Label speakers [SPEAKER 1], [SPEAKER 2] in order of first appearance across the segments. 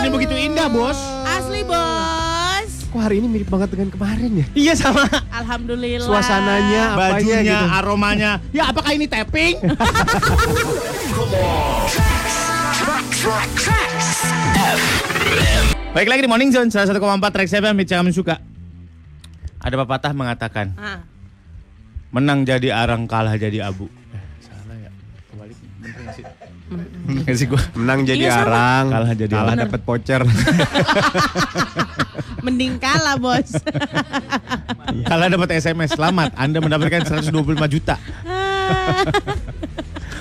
[SPEAKER 1] kita, Bos.
[SPEAKER 2] Asli bos.
[SPEAKER 1] Kok hari ini mirip banget dengan kemarin ya?
[SPEAKER 3] Iya sama.
[SPEAKER 2] Alhamdulillah.
[SPEAKER 1] Suasananya, apanya
[SPEAKER 3] Bajunya,
[SPEAKER 1] gitu.
[SPEAKER 3] aromanya.
[SPEAKER 1] Ya apakah ini tapping?
[SPEAKER 3] Baik lagi di Morning Zone, salah 1,4 track saya yang Jamin suka. Ada pepatah mengatakan,
[SPEAKER 2] Ah,
[SPEAKER 3] menang jadi arang, kalah jadi abu. Eh, salah ya. Kebalik. Bener nggak sih? Bener nggak sih gua?
[SPEAKER 4] Menang jadi
[SPEAKER 2] Iya, sama.
[SPEAKER 4] arang,
[SPEAKER 3] Kalah jadi
[SPEAKER 4] kalah
[SPEAKER 3] arang.
[SPEAKER 4] dapat voucher.
[SPEAKER 2] mending kalah bos.
[SPEAKER 3] Kalah dapat SMS, selamat. Anda mendapatkan 125 juta.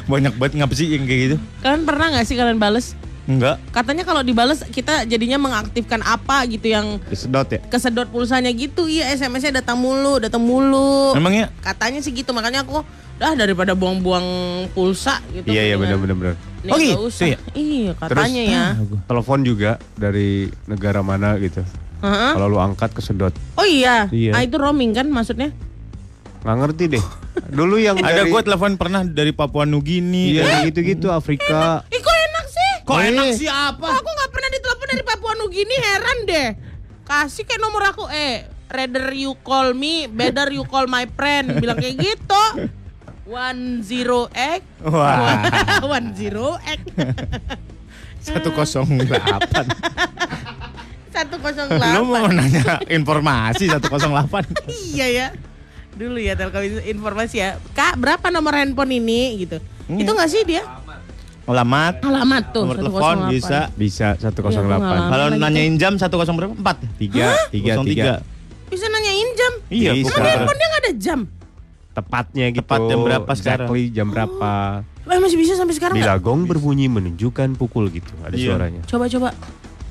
[SPEAKER 3] Banyak banget ngapa sih yang kayak gitu?
[SPEAKER 2] kalian pernah nggak sih kalian bales?
[SPEAKER 3] Enggak.
[SPEAKER 2] Katanya kalau dibales kita jadinya mengaktifkan apa gitu yang
[SPEAKER 3] Disedot ya?
[SPEAKER 2] kesedot pulsanya gitu. Iya SMS-nya datang mulu, datang mulu.
[SPEAKER 3] Emangnya?
[SPEAKER 2] Katanya sih gitu, makanya aku dah daripada buang-buang pulsa gitu.
[SPEAKER 4] Iya iya
[SPEAKER 2] mendingan-
[SPEAKER 4] benar-benar.
[SPEAKER 2] Nih,
[SPEAKER 3] Oh
[SPEAKER 2] nggak
[SPEAKER 3] gitu
[SPEAKER 2] usah.
[SPEAKER 3] ya?
[SPEAKER 2] Iya katanya ya.
[SPEAKER 4] Telepon juga dari negara mana gitu.
[SPEAKER 2] Heeh.
[SPEAKER 4] Kalau lu angkat kesedot.
[SPEAKER 2] Oh iya.
[SPEAKER 4] Iya.
[SPEAKER 2] Ah itu roaming kan maksudnya?
[SPEAKER 4] Nggak ngerti deh. Dulu yang
[SPEAKER 3] Ada
[SPEAKER 4] dari,
[SPEAKER 3] gue telepon pernah dari Papua Nugini.
[SPEAKER 4] Iya gitu-gitu Afrika.
[SPEAKER 2] Ih kok enak sih?
[SPEAKER 3] Kok
[SPEAKER 2] Eh,
[SPEAKER 3] enak sih apa?
[SPEAKER 2] Kok aku nggak pernah ditelepon dari Papua Nugini heran deh. Kasih kayak nomor aku eh rather you call me better you call my friend bilang kayak gitu. One zero X.
[SPEAKER 3] Wah.
[SPEAKER 2] One zero X.
[SPEAKER 3] 108.
[SPEAKER 2] Satu kosong
[SPEAKER 3] Lu mau
[SPEAKER 2] delapan.
[SPEAKER 3] nanya informasi 108.
[SPEAKER 2] Iya ya. Dulu ya Telkom informasi ya. Kak berapa nomor handphone ini gitu.
[SPEAKER 3] Hmm.
[SPEAKER 2] Itu nggak sih dia?
[SPEAKER 3] Alamat.
[SPEAKER 2] Alamat tuh.
[SPEAKER 3] Nomor telepon
[SPEAKER 2] 108.
[SPEAKER 3] bisa.
[SPEAKER 4] Bisa 108.
[SPEAKER 2] Iya, gua nggak
[SPEAKER 3] Kalau
[SPEAKER 2] Lama lagi
[SPEAKER 3] nanyain jam 10 berapa? 4.
[SPEAKER 4] Tiga, tiga, tiga.
[SPEAKER 2] Bisa nanyain jam.
[SPEAKER 3] Iya,
[SPEAKER 4] Bisa.
[SPEAKER 3] bukan.
[SPEAKER 2] Kan handphone dia nggak ada jam.
[SPEAKER 4] Tepatnya gitu.
[SPEAKER 3] Tepat jam berapa
[SPEAKER 4] Exactly
[SPEAKER 2] Oh.
[SPEAKER 4] jam berapa.
[SPEAKER 2] Eh, masih bisa sampai sekarang
[SPEAKER 4] Bila
[SPEAKER 2] nggak?
[SPEAKER 4] gong berbunyi menunjukkan pukul gitu. Ada
[SPEAKER 3] Iya.
[SPEAKER 4] suaranya.
[SPEAKER 2] Coba coba.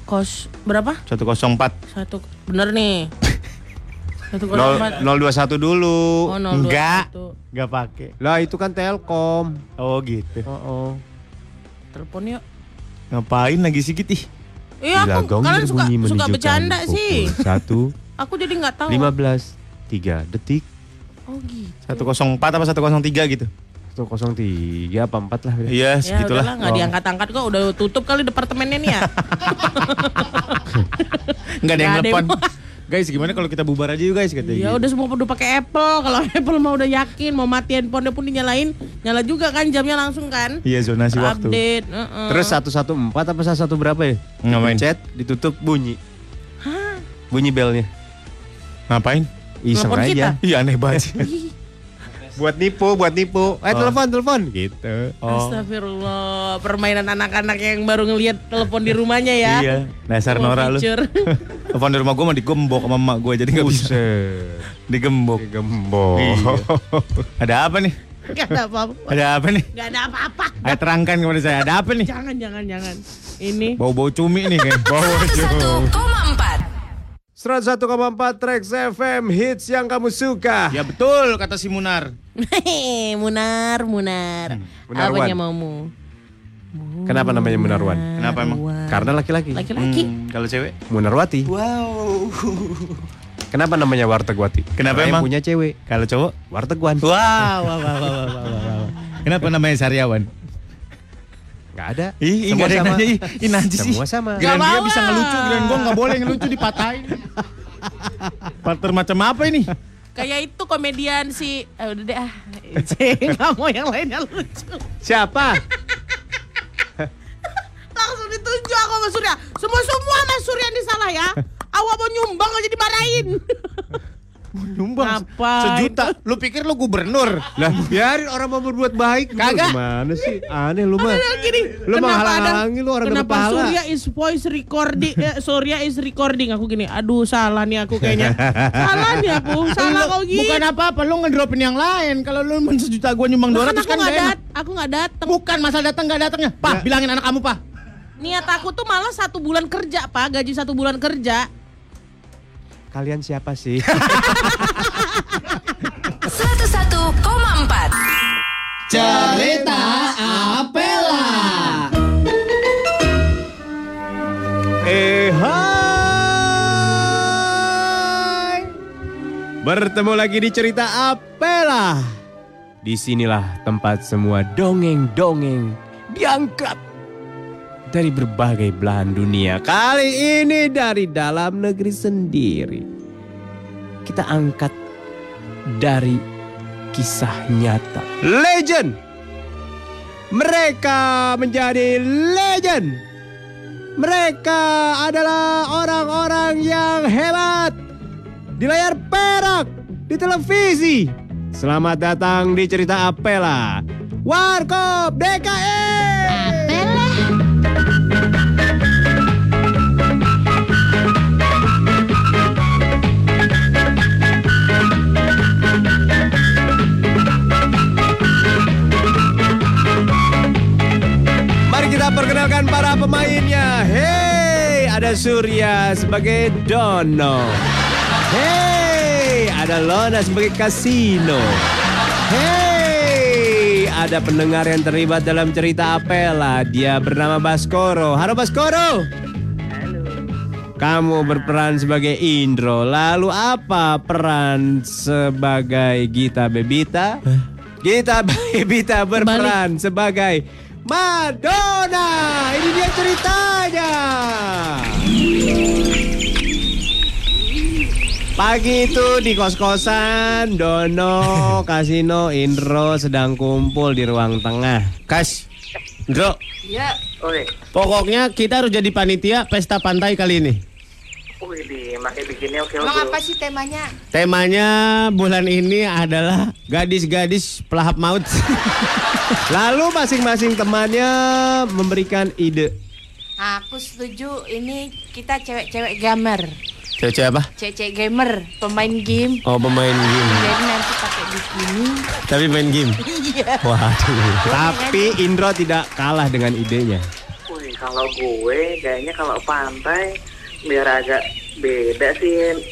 [SPEAKER 2] Kos berapa?
[SPEAKER 3] 104.
[SPEAKER 2] Satu bener nih. Satu
[SPEAKER 4] Nol-
[SPEAKER 2] empat.
[SPEAKER 4] 021 dulu.
[SPEAKER 2] Oh, nol dua
[SPEAKER 3] Enggak.
[SPEAKER 2] satu.
[SPEAKER 3] Enggak pakai.
[SPEAKER 4] Lah itu kan Telkom.
[SPEAKER 3] Oh gitu.
[SPEAKER 4] Oh, oh.
[SPEAKER 2] Telepon yuk.
[SPEAKER 3] Ngapain lagi sih Giti?
[SPEAKER 2] Iya
[SPEAKER 4] Bila
[SPEAKER 2] aku
[SPEAKER 4] gong
[SPEAKER 2] kalian suka
[SPEAKER 4] berbunyi
[SPEAKER 2] suka
[SPEAKER 4] menunjukkan
[SPEAKER 2] bercanda
[SPEAKER 4] pukul
[SPEAKER 2] sih.
[SPEAKER 4] Satu,
[SPEAKER 2] Aku jadi nggak tahu.
[SPEAKER 4] lima belas, tiga detik.
[SPEAKER 2] Oh gitu.
[SPEAKER 3] 104 apa 103 gitu?
[SPEAKER 4] 103 apa 4 lah.
[SPEAKER 2] Ya
[SPEAKER 3] Iya,
[SPEAKER 2] udahlah
[SPEAKER 3] segitulah.
[SPEAKER 2] nggak diangkat-angkat kok udah tutup kali departemennya nih ya.
[SPEAKER 3] Enggak ada yang
[SPEAKER 2] Nggak ada
[SPEAKER 3] telepon.
[SPEAKER 2] yang-
[SPEAKER 3] Guys, gimana kalau kita bubar aja yuk guys kata
[SPEAKER 2] ya
[SPEAKER 3] gitu.
[SPEAKER 2] udah semua udah pakai Apple. Kalau Apple mah udah yakin mau mati handphonenya pun dinyalain, nyala juga kan jamnya langsung kan.
[SPEAKER 3] Iya, zonasi waktu.
[SPEAKER 2] Update. heeh.
[SPEAKER 4] Terus 114 apa 11 berapa ya?
[SPEAKER 3] Ngapain?
[SPEAKER 4] Chat ditutup bunyi. Bunyi belnya.
[SPEAKER 3] Ngapain?
[SPEAKER 4] Iseng
[SPEAKER 2] Telepon kita.
[SPEAKER 4] aja.
[SPEAKER 3] Iya aneh banget. sih.
[SPEAKER 4] Buat nipu, buat nipu. Eh
[SPEAKER 3] Oh.
[SPEAKER 4] telepon, telepon gitu.
[SPEAKER 3] Oh.
[SPEAKER 2] Astagfirullah, permainan anak-anak yang baru ngelihat telepon di rumahnya ya.
[SPEAKER 3] Iya, dasar
[SPEAKER 2] Semua
[SPEAKER 3] Nora lu.
[SPEAKER 2] feature.
[SPEAKER 3] Telepon di rumah gue mah digembok sama emak gue jadi nggak bisa.
[SPEAKER 4] Buset.
[SPEAKER 3] Digembok.
[SPEAKER 4] Gembok.
[SPEAKER 3] Iya. Ada apa nih?
[SPEAKER 2] Gak ada apa-apa.
[SPEAKER 3] Ada apa nih?
[SPEAKER 2] Gak ada apa-apa.
[SPEAKER 3] Ayo terangkan kepada saya. Ada apa nih?
[SPEAKER 2] Jangan, jangan, jangan. Ini
[SPEAKER 3] Bau-bau cumi nih kayak. Bau
[SPEAKER 5] 101,4
[SPEAKER 4] 101,4 Trax FM hits yang kamu suka.
[SPEAKER 3] Ya betul kata si Munar.
[SPEAKER 2] Munar, Munar.
[SPEAKER 4] Munarwan.
[SPEAKER 2] Apanya maumu?
[SPEAKER 4] Kenapa namanya Munarwan?
[SPEAKER 3] Kenapa emang?
[SPEAKER 4] Karena laki-laki.
[SPEAKER 2] Laki-laki.
[SPEAKER 3] Hmm, kalau cewek?
[SPEAKER 4] Munarwati. Wow. Kenapa namanya warteg Wati?
[SPEAKER 3] Kenapa
[SPEAKER 4] Karena yang
[SPEAKER 3] emang?
[SPEAKER 4] punya cewek.
[SPEAKER 3] Kalau cowok?
[SPEAKER 4] Wartegwan.
[SPEAKER 3] Wah, wah, wah, wah, wah, wah, wah, wah. Kenapa namanya Sariawan?
[SPEAKER 4] Nggak ada.
[SPEAKER 3] Ih, ih,
[SPEAKER 4] Semua
[SPEAKER 3] nggak ada yang
[SPEAKER 4] sama.
[SPEAKER 3] nanya. Ih, ih, najis, ih.
[SPEAKER 4] Semua sama.
[SPEAKER 2] Nggak
[SPEAKER 3] Giliran dia
[SPEAKER 2] bawa.
[SPEAKER 3] bisa ngelucu, giliran gue nggak boleh ngelucu dipatahin. Partner macam apa ini?
[SPEAKER 2] Kayak itu komedian si eh, udah deh ah. Gak mau yang lainnya lucu.
[SPEAKER 4] Siapa?
[SPEAKER 2] Langsung ditunjuk aku sama Surya. Semua-semua sama Surya yang disalah ya. Awak mau nyumbang aja dimarahin.
[SPEAKER 3] Nyumbang
[SPEAKER 2] Apa
[SPEAKER 3] sejuta. Lu pikir lu gubernur?
[SPEAKER 4] Lah, biarin orang mau berbuat
[SPEAKER 3] Eh.
[SPEAKER 4] baik.
[SPEAKER 3] Kagak.
[SPEAKER 4] Lu Gimana sih? Aneh lu mah.
[SPEAKER 2] Ada yang gini,
[SPEAKER 4] Lu mah
[SPEAKER 2] kenapa ada-
[SPEAKER 4] halang-halangi lu orang dapat
[SPEAKER 2] Kenapa
[SPEAKER 4] pahala.
[SPEAKER 2] Surya is voice recording eh, Surya is recording Aku gini Aduh salah nih aku kayaknya Salah nih aku Salah
[SPEAKER 3] Lu-
[SPEAKER 2] kau gitu. gini
[SPEAKER 3] Bukan apa-apa, lu ngedropin yang lain. Kalau lu men sejuta gua nyumbang
[SPEAKER 2] Lah, kan aku
[SPEAKER 3] 200 kan
[SPEAKER 2] nggak
[SPEAKER 3] gak enak.
[SPEAKER 2] dat aku nggak datang
[SPEAKER 3] Bukan masalah datang nggak datangnya. Pak, bilangin anak kamu, Pak.
[SPEAKER 2] niat aku tuh malah satu bulan kerja pak gaji satu bulan kerja
[SPEAKER 4] Kalian siapa sih?
[SPEAKER 5] 101,4
[SPEAKER 4] eh, hai. Bertemu lagi di cerita Apela. Disinilah tempat semua dongeng-dongeng diangkat, dari berbagai belahan dunia. Kali ini dari dalam negeri sendiri. Kita angkat dari kisah nyata. Legend. Mereka menjadi legend. Mereka adalah orang-orang yang hebat di layar perak, di televisi. Selamat datang di cerita Apela. Warkop E. DKI. Mari kita perkenalkan para pemainnya. Hey, ada Surya sebagai Dono. Hey, ada Lona sebagai Kasino. Hey, ada pendengar yang terlibat dalam cerita Apela. Dia bernama Baskoro. Halo Baskoro. Kamu berperan sebagai Indro. Lalu apa peran sebagai Gita Bebita? Gita Bebita berperan sebagai Madonna. Ini dia ceritanya. Pagi itu di kos-kosan, Dono, Kasino, Indro sedang kumpul di ruang tengah.
[SPEAKER 3] Kas, Ndro,
[SPEAKER 6] Ya, oke.
[SPEAKER 3] pokoknya kita harus jadi panitia pesta pantai kali ini.
[SPEAKER 6] Wih, di makai bikinnya oke
[SPEAKER 7] Emang
[SPEAKER 6] oke.
[SPEAKER 7] apa sih temanya?
[SPEAKER 3] Temanya bulan ini adalah gadis-gadis pelahap maut.
[SPEAKER 4] Lalu masing-masing temannya memberikan ide.
[SPEAKER 7] Aku setuju ini kita cewek-cewek gamer.
[SPEAKER 4] Cewek apa?
[SPEAKER 7] Cewek-cewek gamer, pemain game.
[SPEAKER 4] Oh pemain game.
[SPEAKER 7] Jadi nanti pakai bikini.
[SPEAKER 4] Tapi main game.
[SPEAKER 7] Iya.
[SPEAKER 4] Waduh. Tapi Indro tidak kalah dengan idenya.
[SPEAKER 6] Wih, kalau gue kayaknya kalau pantai biar agak beda sih.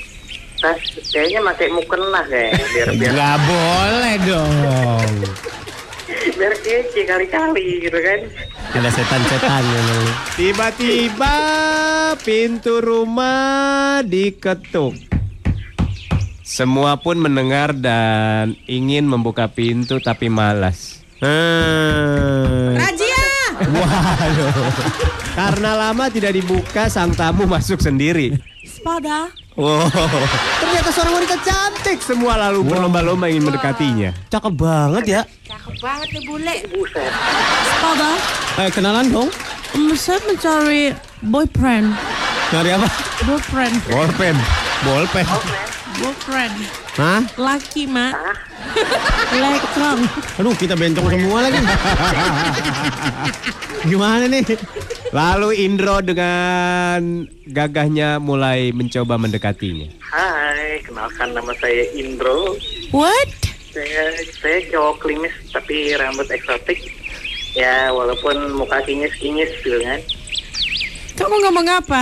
[SPEAKER 6] Tas kayaknya pakai mukena kayak biar biar
[SPEAKER 3] Nggak boleh dong.
[SPEAKER 6] biar kece kali-kali gitu kan.
[SPEAKER 3] Ada setan-setan memang.
[SPEAKER 4] Tiba-tiba pintu rumah diketuk. Semua pun mendengar dan ingin membuka pintu tapi malas. Hmm.
[SPEAKER 2] Rajia!
[SPEAKER 4] Karena lama tidak dibuka, sang tamu masuk sendiri.
[SPEAKER 7] Spada.
[SPEAKER 4] Wow. Ternyata seorang wanita cantik. Semua lalu berlomba-lomba ingin mendekatinya.
[SPEAKER 3] Cakep banget ya.
[SPEAKER 7] Cakep banget nih bule.
[SPEAKER 6] Buset.
[SPEAKER 2] Sepada,
[SPEAKER 4] Eh, kenalan dong.
[SPEAKER 2] saya mencari boyfriend.
[SPEAKER 4] Dari apa?
[SPEAKER 2] Boyfriend,
[SPEAKER 4] Bolpen. Bolpen.
[SPEAKER 2] boyfriend.
[SPEAKER 4] Hah?
[SPEAKER 2] Laki, Mak. Lekong.
[SPEAKER 4] Aduh, kita bencong semua lagi. Gimana nih? Lalu Indro dengan gagahnya mulai mencoba mendekatinya.
[SPEAKER 6] Hai, kenalkan nama saya Indro.
[SPEAKER 2] What?
[SPEAKER 6] Saya saya cowok klimis tapi rambut eksotik. Ya, walaupun muka kinyis-kinyis gitu kan.
[SPEAKER 2] Kamu ngomong apa?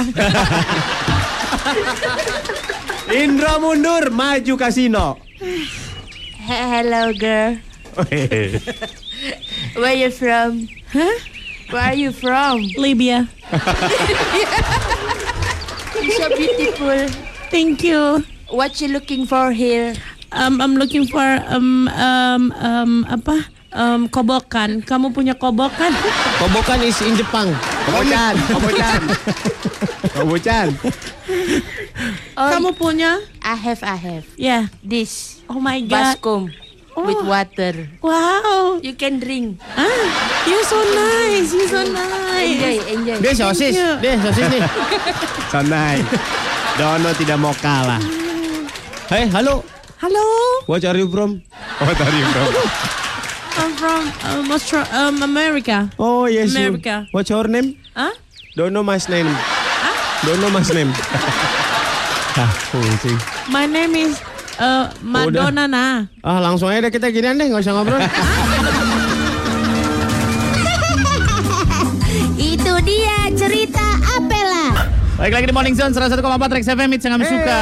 [SPEAKER 4] Indro mundur, maju kasino.
[SPEAKER 7] He- Hello girl. Where you from?
[SPEAKER 2] Hah?
[SPEAKER 7] Where are you from?
[SPEAKER 2] Libya.
[SPEAKER 7] You so beautiful.
[SPEAKER 2] Thank you.
[SPEAKER 7] What you looking for here?
[SPEAKER 2] Um, I'm looking for um, um, um, apa? Um, kobokan. Kamu punya kobokan?
[SPEAKER 4] Kobokan is in Jepang. Kobocan, kobocan. kobocan.
[SPEAKER 7] Oh,
[SPEAKER 2] Kamu punya?
[SPEAKER 7] I have, I have.
[SPEAKER 2] Ya.
[SPEAKER 7] This
[SPEAKER 2] Oh my god.
[SPEAKER 7] baskom with water.
[SPEAKER 2] Wow.
[SPEAKER 7] You can drink.
[SPEAKER 2] Ah, you're so nice. You're so
[SPEAKER 7] Enjoy,
[SPEAKER 2] nice.
[SPEAKER 7] enjoy.
[SPEAKER 3] Deh sosis,
[SPEAKER 2] you.
[SPEAKER 3] deh sosis nih.
[SPEAKER 4] Sanai. Dono tidak mau kalah.
[SPEAKER 3] Hei, halo.
[SPEAKER 2] Halo.
[SPEAKER 4] What are you from? What are you Oh, from?
[SPEAKER 2] I'm from um, Austra- um, America.
[SPEAKER 4] Oh yes, you.
[SPEAKER 2] America. Ah?
[SPEAKER 4] What's your name?
[SPEAKER 2] Huh?
[SPEAKER 4] Don't know my name. Don't know my name. ah, pusing.
[SPEAKER 2] My name is uh, Madonna na.
[SPEAKER 3] Ah, langsung aja deh kita ginian deh, nggak usah ngobrol.
[SPEAKER 5] Itu dia cerita Apela.
[SPEAKER 3] Baik lagi di Morning Zone 101,4 Rex FM It's yang kami suka.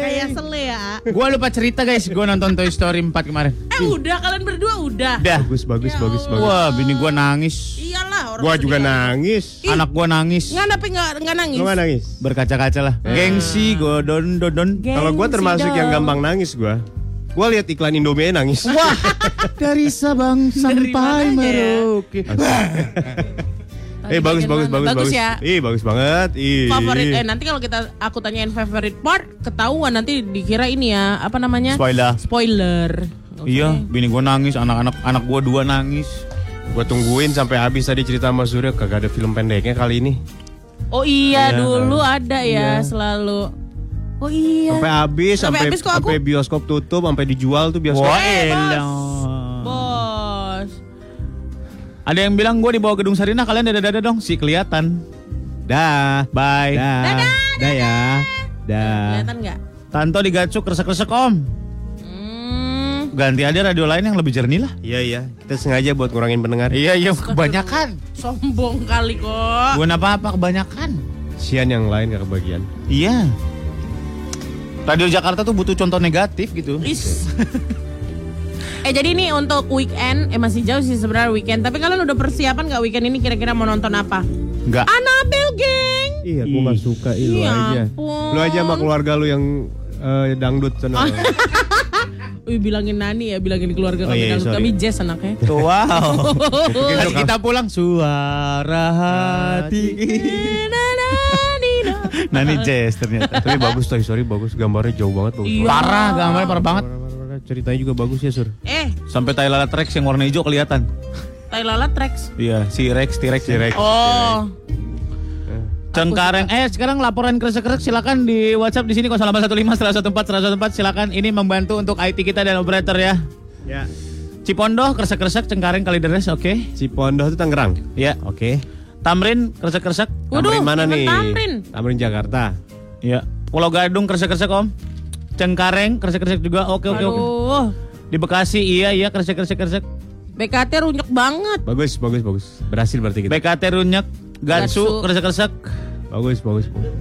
[SPEAKER 2] Kayak sele ya.
[SPEAKER 3] Gua lupa cerita guys, gua nonton Toy Story 4 kemarin.
[SPEAKER 2] Eh udah kalian berdua udah.
[SPEAKER 3] Dah.
[SPEAKER 4] Bagus, bagus, bagus, bagus.
[SPEAKER 3] Wah, bini gua nangis.
[SPEAKER 2] Iyalah orang.
[SPEAKER 4] Gua juga
[SPEAKER 2] sedih.
[SPEAKER 4] nangis.
[SPEAKER 3] Anak gua nangis.
[SPEAKER 2] Nggak tapi nggak nggak nangis.
[SPEAKER 4] Lu nggak nangis?
[SPEAKER 3] Berkaca-kaca lah. Gengsi, godon, dodon.
[SPEAKER 4] Kalau gua termasuk yang gampang nangis gua. Gua lihat iklan Indomie nangis. Wah.
[SPEAKER 3] Dari Sabang sampai
[SPEAKER 2] mananya ya?
[SPEAKER 3] Merauke. Eh bagus bagus bagus
[SPEAKER 2] Bagus ya.
[SPEAKER 3] Ih bagus banget. Ih.
[SPEAKER 2] Favorit eh nanti kalau kita aku tanyain favorite part ketahuan nanti dikira ini ya apa namanya?
[SPEAKER 3] Spoiler.
[SPEAKER 2] Spoiler. Oke.
[SPEAKER 3] Iya, bini gua nangis, anak-anak anak gua dua nangis.
[SPEAKER 4] Gua tungguin sampai habis tadi cerita Mas Surya kagak ada film pendeknya kali ini.
[SPEAKER 2] Oh iya dulu ada ya
[SPEAKER 4] Iya.
[SPEAKER 2] selalu. Oh iya.
[SPEAKER 4] Sampai habis,
[SPEAKER 2] Sampai
[SPEAKER 4] sampai
[SPEAKER 2] habis kok aku.
[SPEAKER 4] sampai bioskop tutup, sampai dijual tuh bioskop.
[SPEAKER 3] Wah,
[SPEAKER 2] Eh, bos.
[SPEAKER 3] elah.
[SPEAKER 2] Bos.
[SPEAKER 3] Ada yang bilang gua dibawa gedung Sarina, kalian dada-dada dong, si kelihatan. Dah, bye.
[SPEAKER 4] Dah,
[SPEAKER 2] Dadah,
[SPEAKER 4] dah ya. Dah.
[SPEAKER 2] Kelihatan nggak?
[SPEAKER 3] Tanto digacuk resek-resek Om.
[SPEAKER 2] Hmm.
[SPEAKER 3] Ganti aja radio lain yang lebih jernih lah.
[SPEAKER 4] Iya iya, kita sengaja buat ngurangin pendengar.
[SPEAKER 3] Iya, iya, kebanyakan.
[SPEAKER 2] Sombong kali kok.
[SPEAKER 3] Bukan apa-apa kebanyakan.
[SPEAKER 4] Sian yang lain gak kebagian.
[SPEAKER 3] Iya. Radio Jakarta tuh butuh contoh negatif gitu.
[SPEAKER 2] Is. eh jadi ini untuk weekend, eh masih jauh sih sebenarnya weekend. Tapi kalian udah persiapan nggak weekend ini kira-kira mau nonton apa?
[SPEAKER 3] Enggak.
[SPEAKER 2] Annabelle geng.
[SPEAKER 4] Iya, gua gak suka ih, lu
[SPEAKER 2] Ya
[SPEAKER 4] aja.
[SPEAKER 2] ampun.
[SPEAKER 4] Lu aja sama keluarga lu yang eh, dangdut sana.
[SPEAKER 2] Wih bilangin Nani ya, bilangin keluarga
[SPEAKER 3] Iya. Oh,
[SPEAKER 2] kami.
[SPEAKER 3] iya,
[SPEAKER 2] Kalau
[SPEAKER 3] sorry. Oh, iya,
[SPEAKER 2] kami jazz anaknya.
[SPEAKER 3] Wow. Pas kita pulang suara hati. iya, Nani Jazz ternyata.
[SPEAKER 4] Tapi bagus Toy Story bagus, gambarnya jauh banget bagus.
[SPEAKER 2] Iya.
[SPEAKER 3] Parah gambarnya parah banget.
[SPEAKER 4] banget. Ceritanya juga bagus ya, Sur.
[SPEAKER 2] eh,
[SPEAKER 3] Sampai tai lalat Rex yang warna hijau kelihatan.
[SPEAKER 2] Tai Lalat Rex.
[SPEAKER 3] Iya, si Rex, T-Rex, T-Rex.
[SPEAKER 2] Oh,
[SPEAKER 3] Cengkareng. Eh, sekarang laporan kresek-kresek silakan di WhatsApp di sini 0815 114 114 silakan ini membantu untuk IT kita dan operator ya.
[SPEAKER 4] Ya.
[SPEAKER 3] Cipondoh kresek-kresek Cengkareng Kalideres, oke.
[SPEAKER 4] Cipondoh itu Tangerang.
[SPEAKER 3] Ya.
[SPEAKER 4] Oke.
[SPEAKER 3] Tamrin kresek-kresek.
[SPEAKER 2] Waduh,
[SPEAKER 4] Tamrin mana
[SPEAKER 2] jangan
[SPEAKER 4] nih?
[SPEAKER 2] Tamrin.
[SPEAKER 4] Tamrin Jakarta.
[SPEAKER 3] Ya. Pulau Gadung kresek-kresek Om. Cengkareng kresek-kresek juga. Oke, oke, oke.
[SPEAKER 2] aduh.
[SPEAKER 3] Di Bekasi iya iya kresek kresek kresek.
[SPEAKER 2] BKT runyek banget.
[SPEAKER 4] Bagus, bagus, bagus. Berhasil berarti kita.
[SPEAKER 3] BKT Runyek,
[SPEAKER 2] Gatsu.
[SPEAKER 3] Gatsu kresek kresek.
[SPEAKER 4] Bagus, bagus, bagus.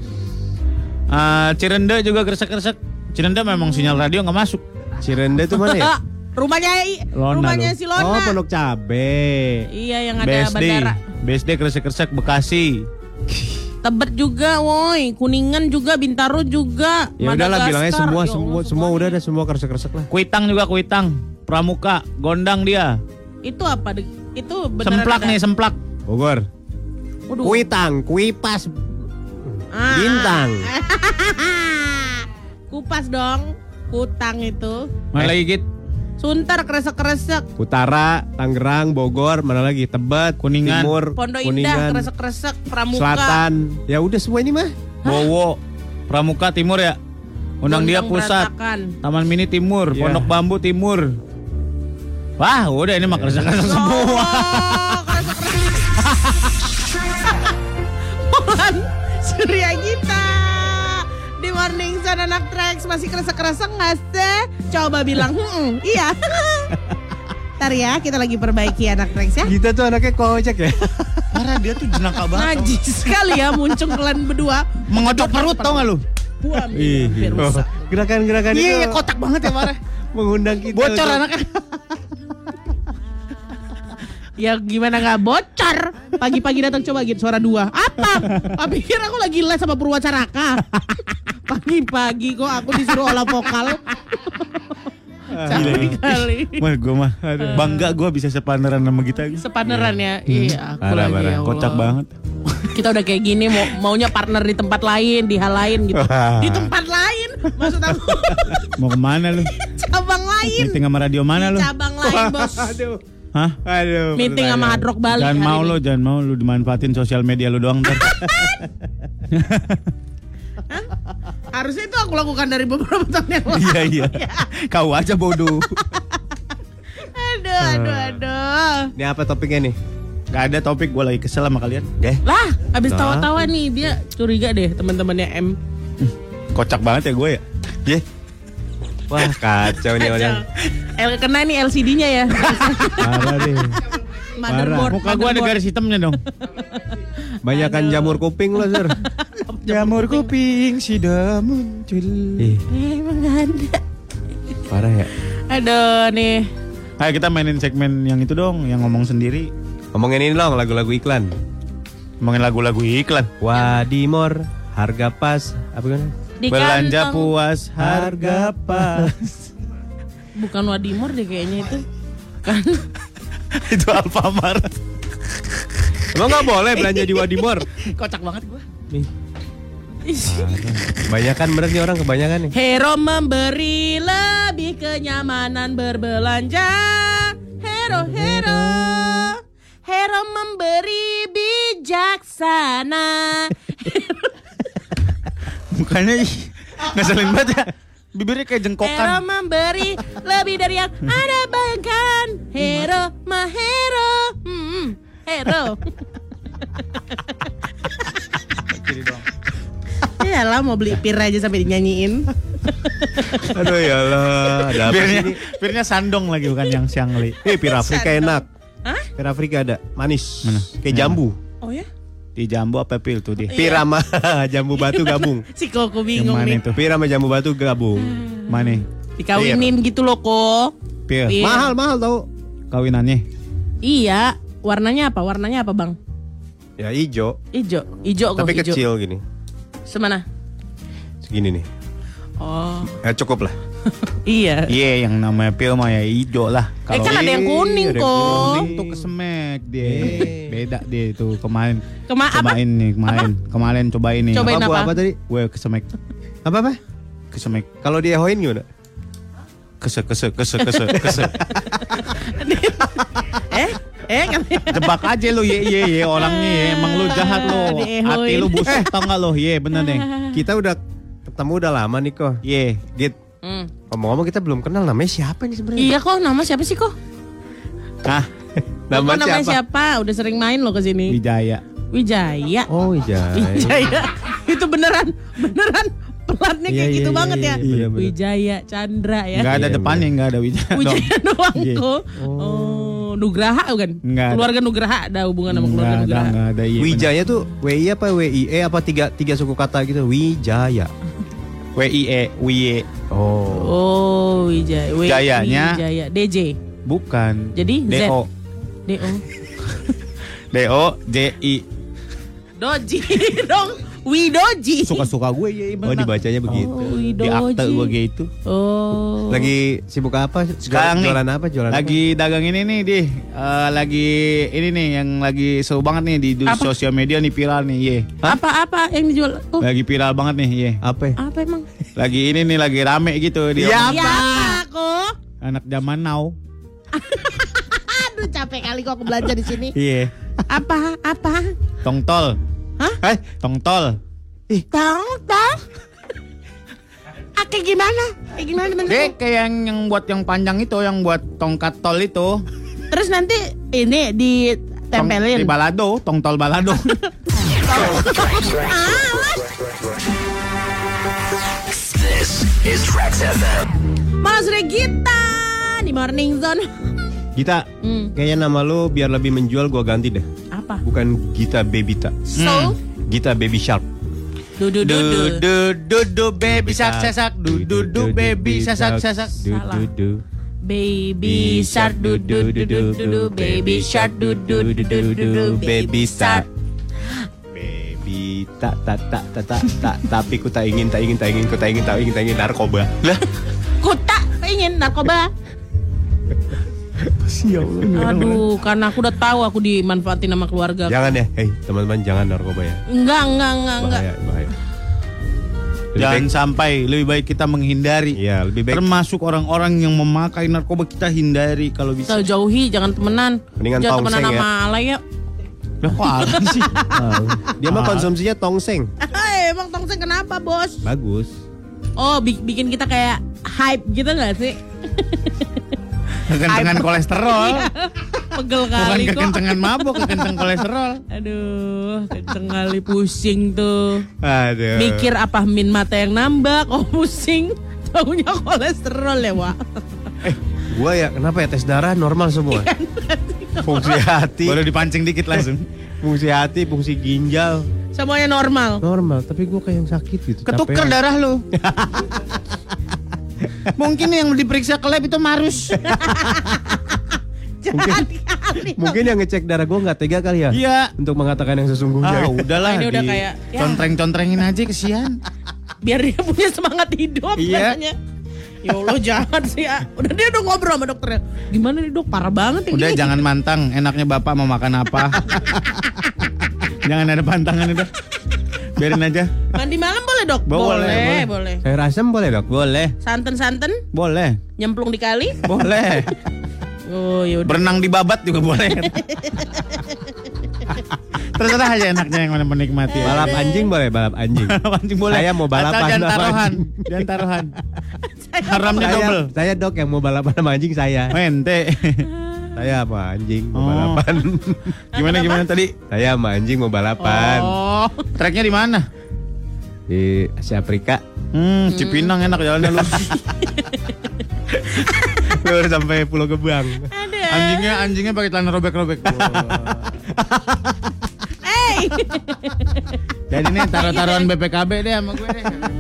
[SPEAKER 3] Ah, Cirende juga kresek kresek. Cirende memang sinyal radio nggak masuk.
[SPEAKER 4] Cirende itu mana ya?
[SPEAKER 2] rumahnya I-
[SPEAKER 3] Lona
[SPEAKER 2] rumahnya
[SPEAKER 3] dong.
[SPEAKER 2] si Lona.
[SPEAKER 4] Oh, Pondok Cabe.
[SPEAKER 2] Iya yang ada
[SPEAKER 3] BSD,
[SPEAKER 2] bandara.
[SPEAKER 3] BSD kresek kresek Bekasi.
[SPEAKER 2] Tebet juga, woi. Kuningan juga, Bintaro juga.
[SPEAKER 4] Ya
[SPEAKER 2] Madagaskar.
[SPEAKER 4] udahlah bilangnya semua
[SPEAKER 2] Ya Allah,
[SPEAKER 4] semua semua udah ada semua kresek-kresek lah.
[SPEAKER 3] Kuitang juga Kuitang. Pramuka, Gondang dia.
[SPEAKER 2] Itu apa? Dek? Itu beneran
[SPEAKER 3] semplak
[SPEAKER 2] ada.
[SPEAKER 3] nih semplak.
[SPEAKER 4] Bogor.
[SPEAKER 2] Waduh.
[SPEAKER 4] Kuitang, kuipas,
[SPEAKER 2] Ah,
[SPEAKER 4] bintang.
[SPEAKER 2] Kupas dong. Kutang itu.
[SPEAKER 3] Mana lagi git?
[SPEAKER 2] Sunter kresek-kresek.
[SPEAKER 4] Utara, Tangerang, Bogor, mana lagi? Tebet,
[SPEAKER 3] Kuningan.
[SPEAKER 4] Timur,
[SPEAKER 2] Pondok Indah
[SPEAKER 4] Kuningan,
[SPEAKER 2] kresek-kresek. Pramuka.
[SPEAKER 4] Selatan. Ya udah semua ini mah.
[SPEAKER 3] Bowo, Pramuka Timur ya. Undang dia
[SPEAKER 2] Gondang
[SPEAKER 3] pusat.
[SPEAKER 2] Berantakan.
[SPEAKER 3] Taman Mini Timur,
[SPEAKER 4] Iya.
[SPEAKER 3] Pondok Bambu Timur. Wah, udah ini mah kresek kresek semua.
[SPEAKER 2] Oh, kresek-kresek. Mulan Surya Gita di Morning Sun anak tracks masih kerasa-kerasa nggak sih? Coba bilang, "Hmm, iya. Ntar ya, kita lagi perbaiki anak tracks ya.
[SPEAKER 4] Kita tuh anaknya kocak ya.
[SPEAKER 3] Parah dia tuh jenaka banget.
[SPEAKER 2] Najis sekali ya muncung kalian berdua.
[SPEAKER 3] Mengodok perut tau gak lu?
[SPEAKER 2] Buam, hampir rusak.
[SPEAKER 4] Iya. Gerakan-gerakan itu
[SPEAKER 3] Iya, kotak banget ya parah.
[SPEAKER 4] mengundang kita.
[SPEAKER 3] Bocor
[SPEAKER 4] untuk-
[SPEAKER 3] anaknya.
[SPEAKER 2] Ya gimana nggak bocor? Pagi-pagi datang coba gitu suara dua. Apa? Apa pikir aku lagi les sama Purwacaraka? Pagi-pagi kok aku disuruh olah vokal. Capek kali.
[SPEAKER 3] Wah, gue mah
[SPEAKER 2] Eh.
[SPEAKER 3] bangga gue bisa sepaneran sama kita.
[SPEAKER 2] Sepaneran ya. Iya, aku
[SPEAKER 3] Hmm. Parah,
[SPEAKER 2] lagi
[SPEAKER 3] parah.
[SPEAKER 2] ya Allah.
[SPEAKER 3] Kocak banget.
[SPEAKER 2] Kita udah kayak gini mau maunya partner di tempat lain, di hal lain gitu. di tempat lain maksud aku
[SPEAKER 3] Mau kemana lu?
[SPEAKER 2] cabang lain.
[SPEAKER 3] Meeting sama radio mana lu?
[SPEAKER 2] Cabang lain, Bos.
[SPEAKER 4] Aduh.
[SPEAKER 3] Hah?
[SPEAKER 4] Aduh.
[SPEAKER 2] Meeting sama Hard Rock Bali.
[SPEAKER 3] jangan
[SPEAKER 2] hari
[SPEAKER 3] mau
[SPEAKER 2] ini.
[SPEAKER 3] lo, jangan mau lu dimanfaatin sosial media lu doang ntar.
[SPEAKER 2] Harusnya itu aku lakukan dari beberapa tahun yang lalu.
[SPEAKER 3] Iya iya. Kau aja bodoh.
[SPEAKER 2] Aduh, aduh, aduh.
[SPEAKER 4] Ini apa topiknya nih?
[SPEAKER 3] Gak ada topik gue lagi kesel sama kalian. Deh,
[SPEAKER 2] Lah, habis tawa-tawa nih dia curiga deh teman-temannya M.
[SPEAKER 3] kocak banget ya gue ya.
[SPEAKER 4] Ye. Wah, kacau nih orang.
[SPEAKER 2] L kena nih LCD-nya ya.
[SPEAKER 4] Parah deh.
[SPEAKER 2] Motherboard.
[SPEAKER 3] Muka gue ada garis hitamnya dong.
[SPEAKER 4] Banyakan jamur kuping lo, Sur.
[SPEAKER 3] Jamur kuping sudah muncul.
[SPEAKER 4] Ih,
[SPEAKER 2] Emang ada.
[SPEAKER 4] parah ya.
[SPEAKER 2] Aduh nih.
[SPEAKER 3] Ayo kita mainin segmen yang itu dong, yang ngomong sendiri.
[SPEAKER 4] Ngomongin ini dong lagu-lagu iklan.
[SPEAKER 3] Ngomongin lagu-lagu iklan.
[SPEAKER 4] Wadimor, harga pas, apa kan?
[SPEAKER 2] Di
[SPEAKER 3] Belanja
[SPEAKER 2] kantong-
[SPEAKER 3] puas harga pas.
[SPEAKER 2] Bukan Kan, Wadimor deh kayaknya itu.
[SPEAKER 3] itu Alfamart.
[SPEAKER 4] Lo nggak boleh belanja di Wadimor.
[SPEAKER 3] Kocak banget gua.
[SPEAKER 4] Kebanyakan berarti orang kebanyakan nih.
[SPEAKER 2] Hero memberi lebih kenyamanan berbelanja. Hero, hero. Hero memberi bijaksana.
[SPEAKER 3] Mukanya ih, ngeselin banget ya. Bibirnya kayak
[SPEAKER 2] Hero
[SPEAKER 3] jengkokan.
[SPEAKER 2] memberi lebih dari yang ada bahkan. Hero, ma hero. Hmm, hero. Iyalah Ya mau beli pir aja sampai dinyanyiin.
[SPEAKER 4] Aduh ya Allah. Ada apa sih
[SPEAKER 3] Bibirnya,
[SPEAKER 4] ini?
[SPEAKER 3] bibirnya sandong lagi bukan yang siangli.
[SPEAKER 4] Eh, pir Afrika enak.
[SPEAKER 2] Hah?
[SPEAKER 4] Pir Afrika ada, manis.
[SPEAKER 3] Mana? Iya.
[SPEAKER 4] Kayak jambu.
[SPEAKER 2] Oh ya?
[SPEAKER 3] Di jambu apa pil tuh dia?
[SPEAKER 4] Pir sama jambu batu gabung.
[SPEAKER 2] Si Koko
[SPEAKER 3] Yang
[SPEAKER 2] bingung
[SPEAKER 3] mana
[SPEAKER 2] nih.
[SPEAKER 3] itu?
[SPEAKER 4] Pir sama jambu batu gabung.
[SPEAKER 3] Mana?
[SPEAKER 2] Dikawinin gitu loh kok.
[SPEAKER 3] Pil.
[SPEAKER 2] Pil.
[SPEAKER 4] Mahal mahal tau.
[SPEAKER 3] Kawinannya.
[SPEAKER 2] Iya, warnanya apa? Warnanya apa, Bang?
[SPEAKER 4] Ya ijo,
[SPEAKER 2] Ijo,
[SPEAKER 3] Oh,
[SPEAKER 2] ijo kok
[SPEAKER 4] tapi
[SPEAKER 2] ijo.
[SPEAKER 4] kecil gini.
[SPEAKER 2] Semana?
[SPEAKER 4] Segini nih.
[SPEAKER 2] Oh,
[SPEAKER 4] Ya cukup lah.
[SPEAKER 2] iya.
[SPEAKER 3] Iya, yang namanya pil mah ya hijau lah.
[SPEAKER 2] Eh
[SPEAKER 3] Iya,
[SPEAKER 2] kan ada yang kuning
[SPEAKER 4] Ada yang
[SPEAKER 2] kok.
[SPEAKER 3] Kuning tuh kesemek dia.
[SPEAKER 4] Iya.
[SPEAKER 3] Beda dia itu kemarin.
[SPEAKER 2] Kema- apa?
[SPEAKER 3] cobain nih kemarin. Kemarin cobain nih.
[SPEAKER 2] Cobain
[SPEAKER 4] Bu,
[SPEAKER 2] apa?
[SPEAKER 4] apa tadi?
[SPEAKER 3] Gue kesemek.
[SPEAKER 4] Apa apa?
[SPEAKER 3] Kesemek.
[SPEAKER 4] Kalau diehoin gimana?
[SPEAKER 3] Kese kese kese kese kese.
[SPEAKER 2] Eh, eh kan.
[SPEAKER 3] Jebak aja lu ye ye ye orangnya ye. Emang lu jahat lu.
[SPEAKER 2] Diehoin.
[SPEAKER 3] Hati lu
[SPEAKER 4] Eh.
[SPEAKER 3] busuk tau gak lu? Ye bener deh.
[SPEAKER 4] Kita udah ketemu udah lama nih kok.
[SPEAKER 3] Ye.
[SPEAKER 4] Git,
[SPEAKER 2] Hmm.
[SPEAKER 4] ngomong-ngomong kita belum kenal namanya siapa nih sebenarnya?
[SPEAKER 2] Iya kok, nama siapa sih kok?
[SPEAKER 3] Hah?
[SPEAKER 2] Kok namanya siapa? Udah sering main loh ke sini.
[SPEAKER 3] Wijaya.
[SPEAKER 2] Wijaya.
[SPEAKER 4] Oh iya.
[SPEAKER 2] Wijaya. Itu beneran, beneran pelatnya kayak gitu banget ya.
[SPEAKER 4] iya, bener.
[SPEAKER 2] Wijaya Chandra ya.
[SPEAKER 3] Enggak ada
[SPEAKER 4] Iya,
[SPEAKER 3] depannya, enggak ada Wijaya. dong.
[SPEAKER 2] Wijaya doang
[SPEAKER 3] Iya.
[SPEAKER 2] kok. Oh, Nugraha bukan?
[SPEAKER 3] Nggak ada.
[SPEAKER 2] Keluarga Nugraha ada hubungan sama
[SPEAKER 3] Enggak
[SPEAKER 2] keluarga
[SPEAKER 3] ada,
[SPEAKER 2] Nugraha.
[SPEAKER 3] enggak ada. Ye, bener.
[SPEAKER 4] Wijaya tuh WI apa WIE apa tiga tiga suku kata gitu. Wijaya.
[SPEAKER 3] W I E Wiye.
[SPEAKER 4] Oh.
[SPEAKER 2] Oh, Wijaya. W-
[SPEAKER 3] Jayanya.
[SPEAKER 2] Wijaya. DJ.
[SPEAKER 3] Bukan.
[SPEAKER 2] Jadi
[SPEAKER 3] D
[SPEAKER 2] Z.
[SPEAKER 3] O
[SPEAKER 2] DO.
[SPEAKER 3] D O J I.
[SPEAKER 2] Doji dong. Widoji.
[SPEAKER 3] Suka-suka gue ya
[SPEAKER 4] Oh dibacanya begitu.
[SPEAKER 3] Di akte gue kayak itu.
[SPEAKER 2] Oh.
[SPEAKER 4] Lagi sibuk apa? Jual-
[SPEAKER 3] Sekarang nih.
[SPEAKER 4] jualan apa? Jualan
[SPEAKER 3] lagi dagang ini nih di eh, lagi ini nih yang lagi seru banget nih di, di
[SPEAKER 2] Apa?
[SPEAKER 3] sosial media nih viral nih ye.
[SPEAKER 2] apa-apa yang dijual? Oh,
[SPEAKER 3] Lagi viral banget nih ye.
[SPEAKER 4] apa? ya? Apa?
[SPEAKER 2] apa emang?
[SPEAKER 3] Lagi ini nih lagi rame gitu
[SPEAKER 2] Iya,
[SPEAKER 3] dia.
[SPEAKER 2] apa kok?
[SPEAKER 3] Anak zaman now.
[SPEAKER 2] Aduh, capek kali kok aku belanja di sini.
[SPEAKER 3] Iya.
[SPEAKER 2] Apa? Apa?
[SPEAKER 3] Tongtol.
[SPEAKER 2] Hah?
[SPEAKER 3] Eh, tongtol.
[SPEAKER 2] Tong tong. Ah, kayak gimana? Kayak gimana bentuknya?
[SPEAKER 3] Dek, kayak yang, yang buat yang panjang itu, yang buat tongkat tol itu.
[SPEAKER 2] Terus nanti ini
[SPEAKER 3] Tong-
[SPEAKER 2] ditempelin.
[SPEAKER 3] Di balado, tongtol balado.
[SPEAKER 2] Mas Regita di Morning Zone.
[SPEAKER 4] Gita.
[SPEAKER 2] Hmm,
[SPEAKER 4] Kayaknya nama lu biar lebih menjual gua ganti deh.
[SPEAKER 3] Ah.
[SPEAKER 2] apa?
[SPEAKER 4] Bukan Gita Babita.
[SPEAKER 2] So,
[SPEAKER 4] Gita Baby Sharp.
[SPEAKER 2] du du du du.
[SPEAKER 3] du du du baby sak sasak du du du baby sasak sasak.
[SPEAKER 2] Salah. Baby shark du du du du du du. baby shark du du du du du du. baby shark.
[SPEAKER 4] Baby tak tak tak tak tak tak tapi ku tak ingin tak ingin tak ingin ku tak ingin tak ingin tak ingin narkoba. Lah,
[SPEAKER 2] Kuta pengen narkoba. Aduh, karena aku udah tahu aku dimanfaatin sama keluarga.
[SPEAKER 4] jangan ya. Hei, teman-teman jangan narkoba ya.
[SPEAKER 2] Enggak, enggak, enggak, enggak.
[SPEAKER 4] Bahaya, bahaya. Lebih
[SPEAKER 3] Jangan
[SPEAKER 4] baik-
[SPEAKER 3] sampai lebih baik kita menghindari.
[SPEAKER 4] Iya, lebih baik
[SPEAKER 3] Termasuk orang-orang yang memakai narkoba kita hindari kalau bisa.
[SPEAKER 2] Kita jauhi, jangan temenan.
[SPEAKER 4] Mendingan
[SPEAKER 2] jangan
[SPEAKER 4] tongseng
[SPEAKER 2] temenan
[SPEAKER 4] ya.
[SPEAKER 2] sama alay ya.
[SPEAKER 3] Lah kok ada sih?
[SPEAKER 4] dia mah konsumsinya tongseng.
[SPEAKER 2] Hei, emang Eh, tongseng kenapa, Bos?
[SPEAKER 4] Bagus.
[SPEAKER 2] Oh, bi- bikin kita kayak hype gitu enggak sih?
[SPEAKER 3] Kekencengan kolesterol.
[SPEAKER 2] Pegel
[SPEAKER 3] Bukan
[SPEAKER 2] kali kok.
[SPEAKER 3] kekencengan mabok, kekenceng kolesterol.
[SPEAKER 2] Aduh, kenceng kali pusing tuh.
[SPEAKER 3] Eh.
[SPEAKER 4] Aduh.
[SPEAKER 2] Mikir apa min mata yang nambah, kok pusing. Taunya kolesterol ya, Wak.
[SPEAKER 4] Gua ya kenapa ya tes darah normal semua.
[SPEAKER 2] Iya,
[SPEAKER 4] fungsi hati,
[SPEAKER 3] Baru dipancing dikit langsung.
[SPEAKER 4] fungsi hati, fungsi ginjal
[SPEAKER 2] Semuanya normal.
[SPEAKER 4] normal, tapi gua kayak yang sakit gitu.
[SPEAKER 3] Ketuker
[SPEAKER 4] capean.
[SPEAKER 3] darah lu. Mungkin yang diperiksa ke lab itu marus.
[SPEAKER 2] Jahat kali.
[SPEAKER 4] Mungkin yang ngecek darah gua nggak tega kali ya.
[SPEAKER 3] Iya.
[SPEAKER 4] Untuk mengatakan yang sesungguhnya.
[SPEAKER 3] Ah, udahlah.
[SPEAKER 2] Ini udah
[SPEAKER 3] di-
[SPEAKER 2] kayak, ya.
[SPEAKER 3] Contreng-contrengin aja kesian.
[SPEAKER 2] Biar dia punya semangat hidup
[SPEAKER 3] Iya.
[SPEAKER 2] katanya. Ya Allah jahat sih ya. Udah dia udah ngobrol sama dokternya. Gimana nih dok, parah banget ya.
[SPEAKER 3] Udah
[SPEAKER 2] gini.
[SPEAKER 3] jangan mantang, enaknya bapak mau makan apa. Jangan ada pantangan udah. Biarin aja.
[SPEAKER 2] Mandi malam boleh dok?
[SPEAKER 3] Boleh,
[SPEAKER 2] Eh, boleh.
[SPEAKER 3] boleh.
[SPEAKER 4] Sayur asem boleh dok? Boleh.
[SPEAKER 2] Santen-santen,
[SPEAKER 3] Boleh.
[SPEAKER 2] nyemplung di kali.
[SPEAKER 3] Boleh.
[SPEAKER 2] Oh yaudah.
[SPEAKER 3] Berenang di babat juga boleh. Terserah aja enaknya yang mana menikmati. aja.
[SPEAKER 4] Balap anjing boleh balap anjing.
[SPEAKER 3] Pancing boleh.
[SPEAKER 4] Saya mau balapan
[SPEAKER 3] Asal jangan
[SPEAKER 4] sama
[SPEAKER 3] taruhan.
[SPEAKER 4] anjing.
[SPEAKER 3] Jangan taruhan. Haramnya
[SPEAKER 4] saya,
[SPEAKER 3] double.
[SPEAKER 4] saya dok yang mau balapan sama anjing saya.
[SPEAKER 3] Oh, ente.
[SPEAKER 4] Saya sama anjing mau
[SPEAKER 3] Oh.
[SPEAKER 4] balapan.
[SPEAKER 3] Gimana gimana tadi?
[SPEAKER 4] saya sama anjing mau balapan
[SPEAKER 3] Oh, treknya di mana?
[SPEAKER 4] di Asia Afrika.
[SPEAKER 3] Hmm, Cipinang enak jalannya lu.
[SPEAKER 4] Baru sampai Pulau Gebang.
[SPEAKER 3] Anjingnya anjingnya pakai celana robek-robek.
[SPEAKER 2] Hey,
[SPEAKER 3] Jadi nih taruh-taruhan BPKB deh sama gue deh. Iya, kan?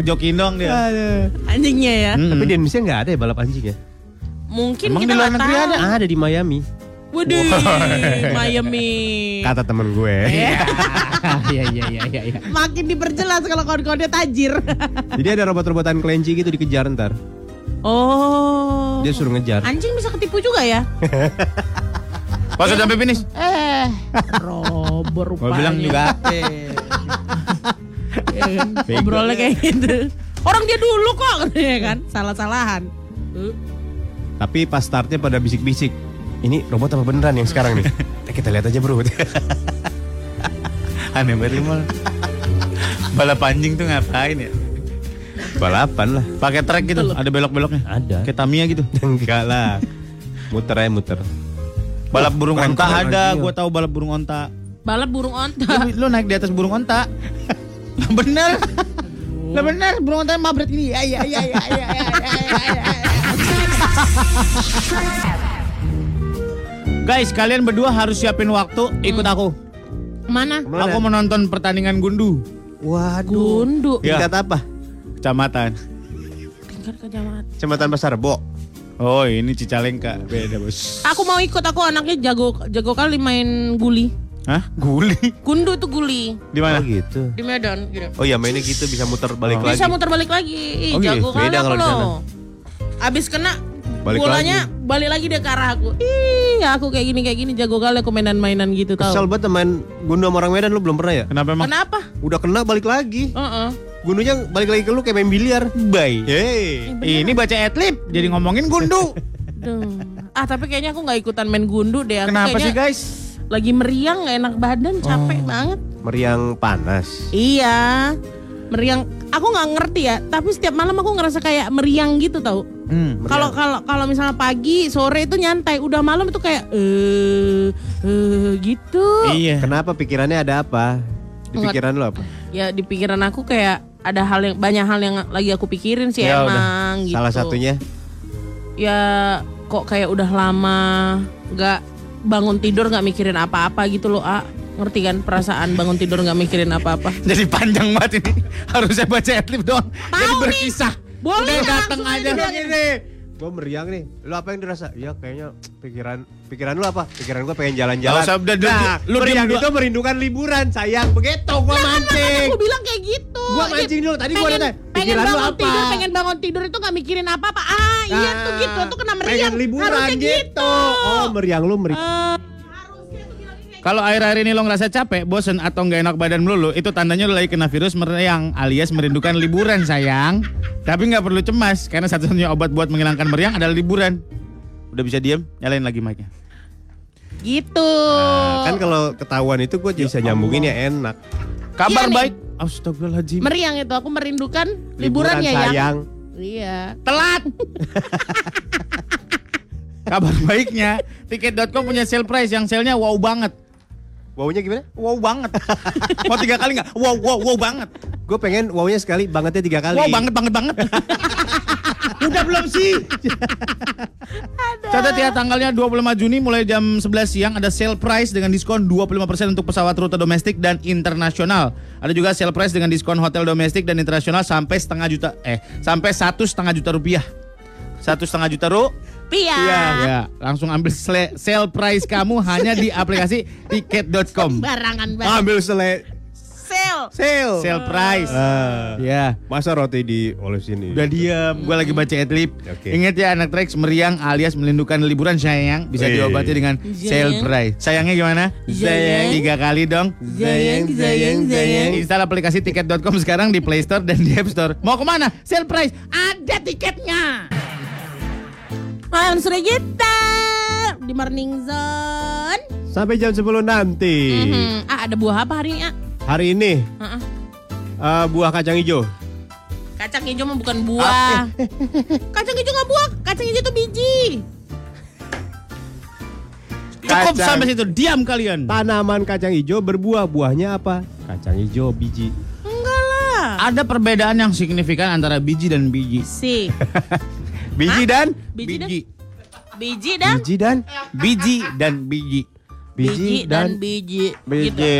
[SPEAKER 3] Ngejokin dong dia. Hmm,
[SPEAKER 4] Aduh.
[SPEAKER 2] anjingnya ya.
[SPEAKER 3] Mm-mm.
[SPEAKER 4] Tapi di Indonesia nggak ada ya balap anjing ya?
[SPEAKER 2] Mungkin
[SPEAKER 3] Emang
[SPEAKER 2] kita
[SPEAKER 3] di luar
[SPEAKER 2] nggak
[SPEAKER 3] negeri
[SPEAKER 2] tahu.
[SPEAKER 3] ada? Ah.
[SPEAKER 4] Ada di Miami.
[SPEAKER 2] Waduh, Miami.
[SPEAKER 4] Kata temen gue.
[SPEAKER 8] Iya, iya, iya, iya. iya.
[SPEAKER 2] Makin diperjelas kalau kawan-kawannya tajir.
[SPEAKER 4] Jadi ada robot-robotan kelinci gitu dikejar ntar.
[SPEAKER 2] oh.
[SPEAKER 4] Dia suruh ngejar.
[SPEAKER 2] Anjing bisa ketipu juga ya?
[SPEAKER 3] Pas udah sampai finish.
[SPEAKER 2] Robo
[SPEAKER 3] Gue
[SPEAKER 2] rupanya.
[SPEAKER 3] bilang juga.
[SPEAKER 2] Eh, Ngobrolnya kayak gitu. Orang dia dulu kok, katanya kan? Salah-salahan. Eh,
[SPEAKER 4] Tapi pas startnya pada bisik-bisik. Ini robot apa beneran yang sekarang nih? Eh, Kita lihat aja bro.
[SPEAKER 3] Aneh banget lu, Mol. Balap anjing tuh ngapain ya?
[SPEAKER 4] Balapan lah.
[SPEAKER 3] Pakai trek gitu, ada belok-beloknya.
[SPEAKER 4] Ada.
[SPEAKER 3] Kayak Tamiya gitu.
[SPEAKER 4] Enggak lah. Muter aja muter.
[SPEAKER 3] Balap burung
[SPEAKER 4] keren,
[SPEAKER 3] onta
[SPEAKER 4] keren
[SPEAKER 3] ada,
[SPEAKER 4] lagi,
[SPEAKER 3] gue
[SPEAKER 4] ya.
[SPEAKER 3] tahu balap burung onta.
[SPEAKER 2] Balap burung onta.
[SPEAKER 3] Lu, lu naik di atas burung onta. Lah bener. Lah bener, burung onta mabret gini. Ya ya ya ya ya ya ya, ya, ya. Guys, kalian berdua harus siapin waktu ikut aku.
[SPEAKER 2] Mana?
[SPEAKER 3] Aku menonton pertandingan gundu
[SPEAKER 4] Waduh.
[SPEAKER 2] Gundu.
[SPEAKER 3] Ya.
[SPEAKER 4] Tingkat apa?
[SPEAKER 3] kecamatan.
[SPEAKER 2] Tingkat kejamatan.
[SPEAKER 4] Kecamatan Pasar Bo.
[SPEAKER 3] Oh, ini Cicalengka. Beda, Bos.
[SPEAKER 2] Aku mau ikut, aku anaknya jago jago kali main guli.
[SPEAKER 3] Hah? Guli.
[SPEAKER 2] Gundu tuh guli
[SPEAKER 3] Di mana?
[SPEAKER 4] Oh gitu.
[SPEAKER 2] di Medan gitu.
[SPEAKER 4] Oh ya mainnya gitu bisa muter balik lagi.
[SPEAKER 2] Bisa muter balik lagi. Ih,
[SPEAKER 4] Oh, iya.
[SPEAKER 2] jago kali
[SPEAKER 4] Beda
[SPEAKER 2] aku
[SPEAKER 4] kalau di sana.
[SPEAKER 2] loh. Abis kena
[SPEAKER 4] Balik
[SPEAKER 2] bolanya balik lagi dia ke arah aku. Ih, aku kayak gini kayak gini jago kali aku mainan-mainan gitu tau.
[SPEAKER 4] Kesel banget main gundu sama orang Medan lu belum pernah ya?
[SPEAKER 3] Kenapa emang?
[SPEAKER 2] Kenapa?
[SPEAKER 4] Udah kena balik lagi.
[SPEAKER 2] Heeh.
[SPEAKER 4] Gundunya balik lagi ke lu kayak main biliar.
[SPEAKER 3] Bye. Ini baca adlib, jadi ngomongin gundu.
[SPEAKER 2] Duh. Ah, tapi kayaknya aku nggak ikutan main gundu deh. Aku
[SPEAKER 3] Kenapa sih
[SPEAKER 2] kayaknya
[SPEAKER 3] guys?
[SPEAKER 2] Lagi meriang nggak enak badan,
[SPEAKER 4] Oh.
[SPEAKER 2] capek banget.
[SPEAKER 4] Meriang panas.
[SPEAKER 2] Iya. Meriang aku nggak ngerti ya, tapi setiap malam aku ngerasa kayak meriang gitu tau.
[SPEAKER 3] Hmm.
[SPEAKER 2] Kalau kalau kalau misalnya pagi sore itu nyantai, udah malam itu kayak eh eh gitu.
[SPEAKER 3] Iya.
[SPEAKER 4] Kenapa pikirannya ada apa? Di
[SPEAKER 2] Nggak-
[SPEAKER 4] pikiran lu apa?
[SPEAKER 2] Ya di pikiran aku kayak ada hal yang banyak hal yang lagi aku pikirin sih
[SPEAKER 3] Ya,
[SPEAKER 2] emang gitu.
[SPEAKER 4] Salah satunya
[SPEAKER 2] Ya kok kayak udah lama nggak bangun tidur nggak mikirin apa-apa gitu loh, A. Ngerti kan perasaan bangun tidur nggak mikirin apa-apa.
[SPEAKER 3] Jadi panjang banget ini. Harusnya baca adlib doang. Jadi
[SPEAKER 2] nih.
[SPEAKER 3] berkisah.
[SPEAKER 2] Boleh
[SPEAKER 3] Udah
[SPEAKER 2] nggak
[SPEAKER 3] dateng
[SPEAKER 2] langsung gitu
[SPEAKER 3] aja.
[SPEAKER 2] aja
[SPEAKER 3] Gini.
[SPEAKER 4] Gue meriang nih. Lu apa yang dirasa? Ya kayaknya pikiran pikiran lu apa? Pikiran gue pengen
[SPEAKER 3] Gak
[SPEAKER 4] jalan-jalan.
[SPEAKER 3] usah, udah, udah,
[SPEAKER 4] nah,
[SPEAKER 3] lu
[SPEAKER 4] lu
[SPEAKER 3] diam
[SPEAKER 4] meriang
[SPEAKER 3] dulu.
[SPEAKER 4] itu merindukan liburan, sayang. Begitu gua
[SPEAKER 2] kan
[SPEAKER 4] mancing.
[SPEAKER 2] Aku bilang kayak gitu.
[SPEAKER 4] Gua mancing dulu. Tadi gua
[SPEAKER 2] pengen,
[SPEAKER 4] nanya,
[SPEAKER 2] pengen
[SPEAKER 4] pikiran lu
[SPEAKER 2] bangun
[SPEAKER 4] apa?
[SPEAKER 2] tidur, pengen bangun tidur itu nggak mikirin apa-apa. Ah, iya tuh gitu, tuh kena meriang.
[SPEAKER 4] Nah, Pengen liburan
[SPEAKER 2] Harusnya
[SPEAKER 4] gitu. Oh, meriang lu meriang.
[SPEAKER 2] Eh,
[SPEAKER 3] Kalau akhir-akhir ini lo ngerasa capek, bosen atau nggak enak badan melulu, itu tandanya lo lagi kena virus meriang alias merindukan liburan sayang. Tapi nggak perlu cemas karena satu-satunya obat buat menghilangkan meriang adalah liburan. Udah bisa diem, nyalain lagi mic-nya.
[SPEAKER 2] gitu.
[SPEAKER 4] Kan kalau ketahuan itu gue bisa nyambungin ya enak.
[SPEAKER 3] Kabar
[SPEAKER 2] Iya, nih.
[SPEAKER 3] baik. Astagfirullahaladzim.
[SPEAKER 2] Meriang itu aku merindukan liburan, ya yang.
[SPEAKER 4] sayang.
[SPEAKER 2] Iya.
[SPEAKER 3] Telat. Kabar baiknya, tiket.com punya sale price yang sale-nya wow banget.
[SPEAKER 4] Wownya gimana?
[SPEAKER 3] Wow banget. Mau tiga kali nggak? Wow, wow, wow banget.
[SPEAKER 4] Gue pengen wownya sekali, bangetnya tiga kali.
[SPEAKER 3] Wow banget, banget, banget. Udah belum sih? Catat ya tanggalnya 25 Juni mulai jam 11 siang ada sale price dengan diskon 25% untuk pesawat rute domestik dan internasional. Ada juga sale price dengan diskon hotel domestik dan internasional sampai setengah juta eh sampai satu setengah juta rupiah. Satu setengah juta ru
[SPEAKER 2] Pia.
[SPEAKER 5] Iya.
[SPEAKER 3] Ya, langsung ambil sle- sale price kamu hanya di aplikasi tiket.com.
[SPEAKER 2] Barangan banget.
[SPEAKER 4] Ambil sele
[SPEAKER 2] Sel sale.
[SPEAKER 3] Sale. Sale price. Ya.
[SPEAKER 4] Eh. Masa roti diolesin ini?
[SPEAKER 3] Udah diam, gue lagi baca adlib.
[SPEAKER 4] Gitu. Oke.
[SPEAKER 3] Ingat ya anak treks meriang alias merindukan liburan sayang bisa
[SPEAKER 4] Wih.
[SPEAKER 3] diobati dengan sale price. Sayangnya gimana?
[SPEAKER 2] Sayang.
[SPEAKER 3] Tiga kali dong.
[SPEAKER 2] Zayang, zayang, zayang.
[SPEAKER 3] Install aplikasi tiket.com sekarang di Play Store dan di App Store. Mau kemana? Sale price. Ada tiketnya.
[SPEAKER 2] Malam sore kita di morning zone.
[SPEAKER 4] Sampai jam 10 nanti.
[SPEAKER 2] Mhm. Ah, ada buah apa hari ini? Ah?
[SPEAKER 4] Hari ini
[SPEAKER 2] Heeh.
[SPEAKER 4] eh, buah kacang hijau.
[SPEAKER 2] Kacang hijau mah bukan buah. Kacang hijau nggak buah, kacang hijau tuh biji.
[SPEAKER 3] Cukup
[SPEAKER 4] Kacang.
[SPEAKER 3] sampai situ. Diam kalian.
[SPEAKER 4] Tanaman kacang hijau berbuah. Buahnya apa? Kacang hijau biji.
[SPEAKER 2] Enggak lah.
[SPEAKER 3] Ada perbedaan yang signifikan antara biji dan biji.
[SPEAKER 2] Si
[SPEAKER 4] Biji dan
[SPEAKER 2] biji, dan
[SPEAKER 3] Biji.
[SPEAKER 2] biji dan
[SPEAKER 4] biji dan
[SPEAKER 3] Biji dan biji.
[SPEAKER 4] biji dan
[SPEAKER 2] biji. Gitu.
[SPEAKER 4] biji.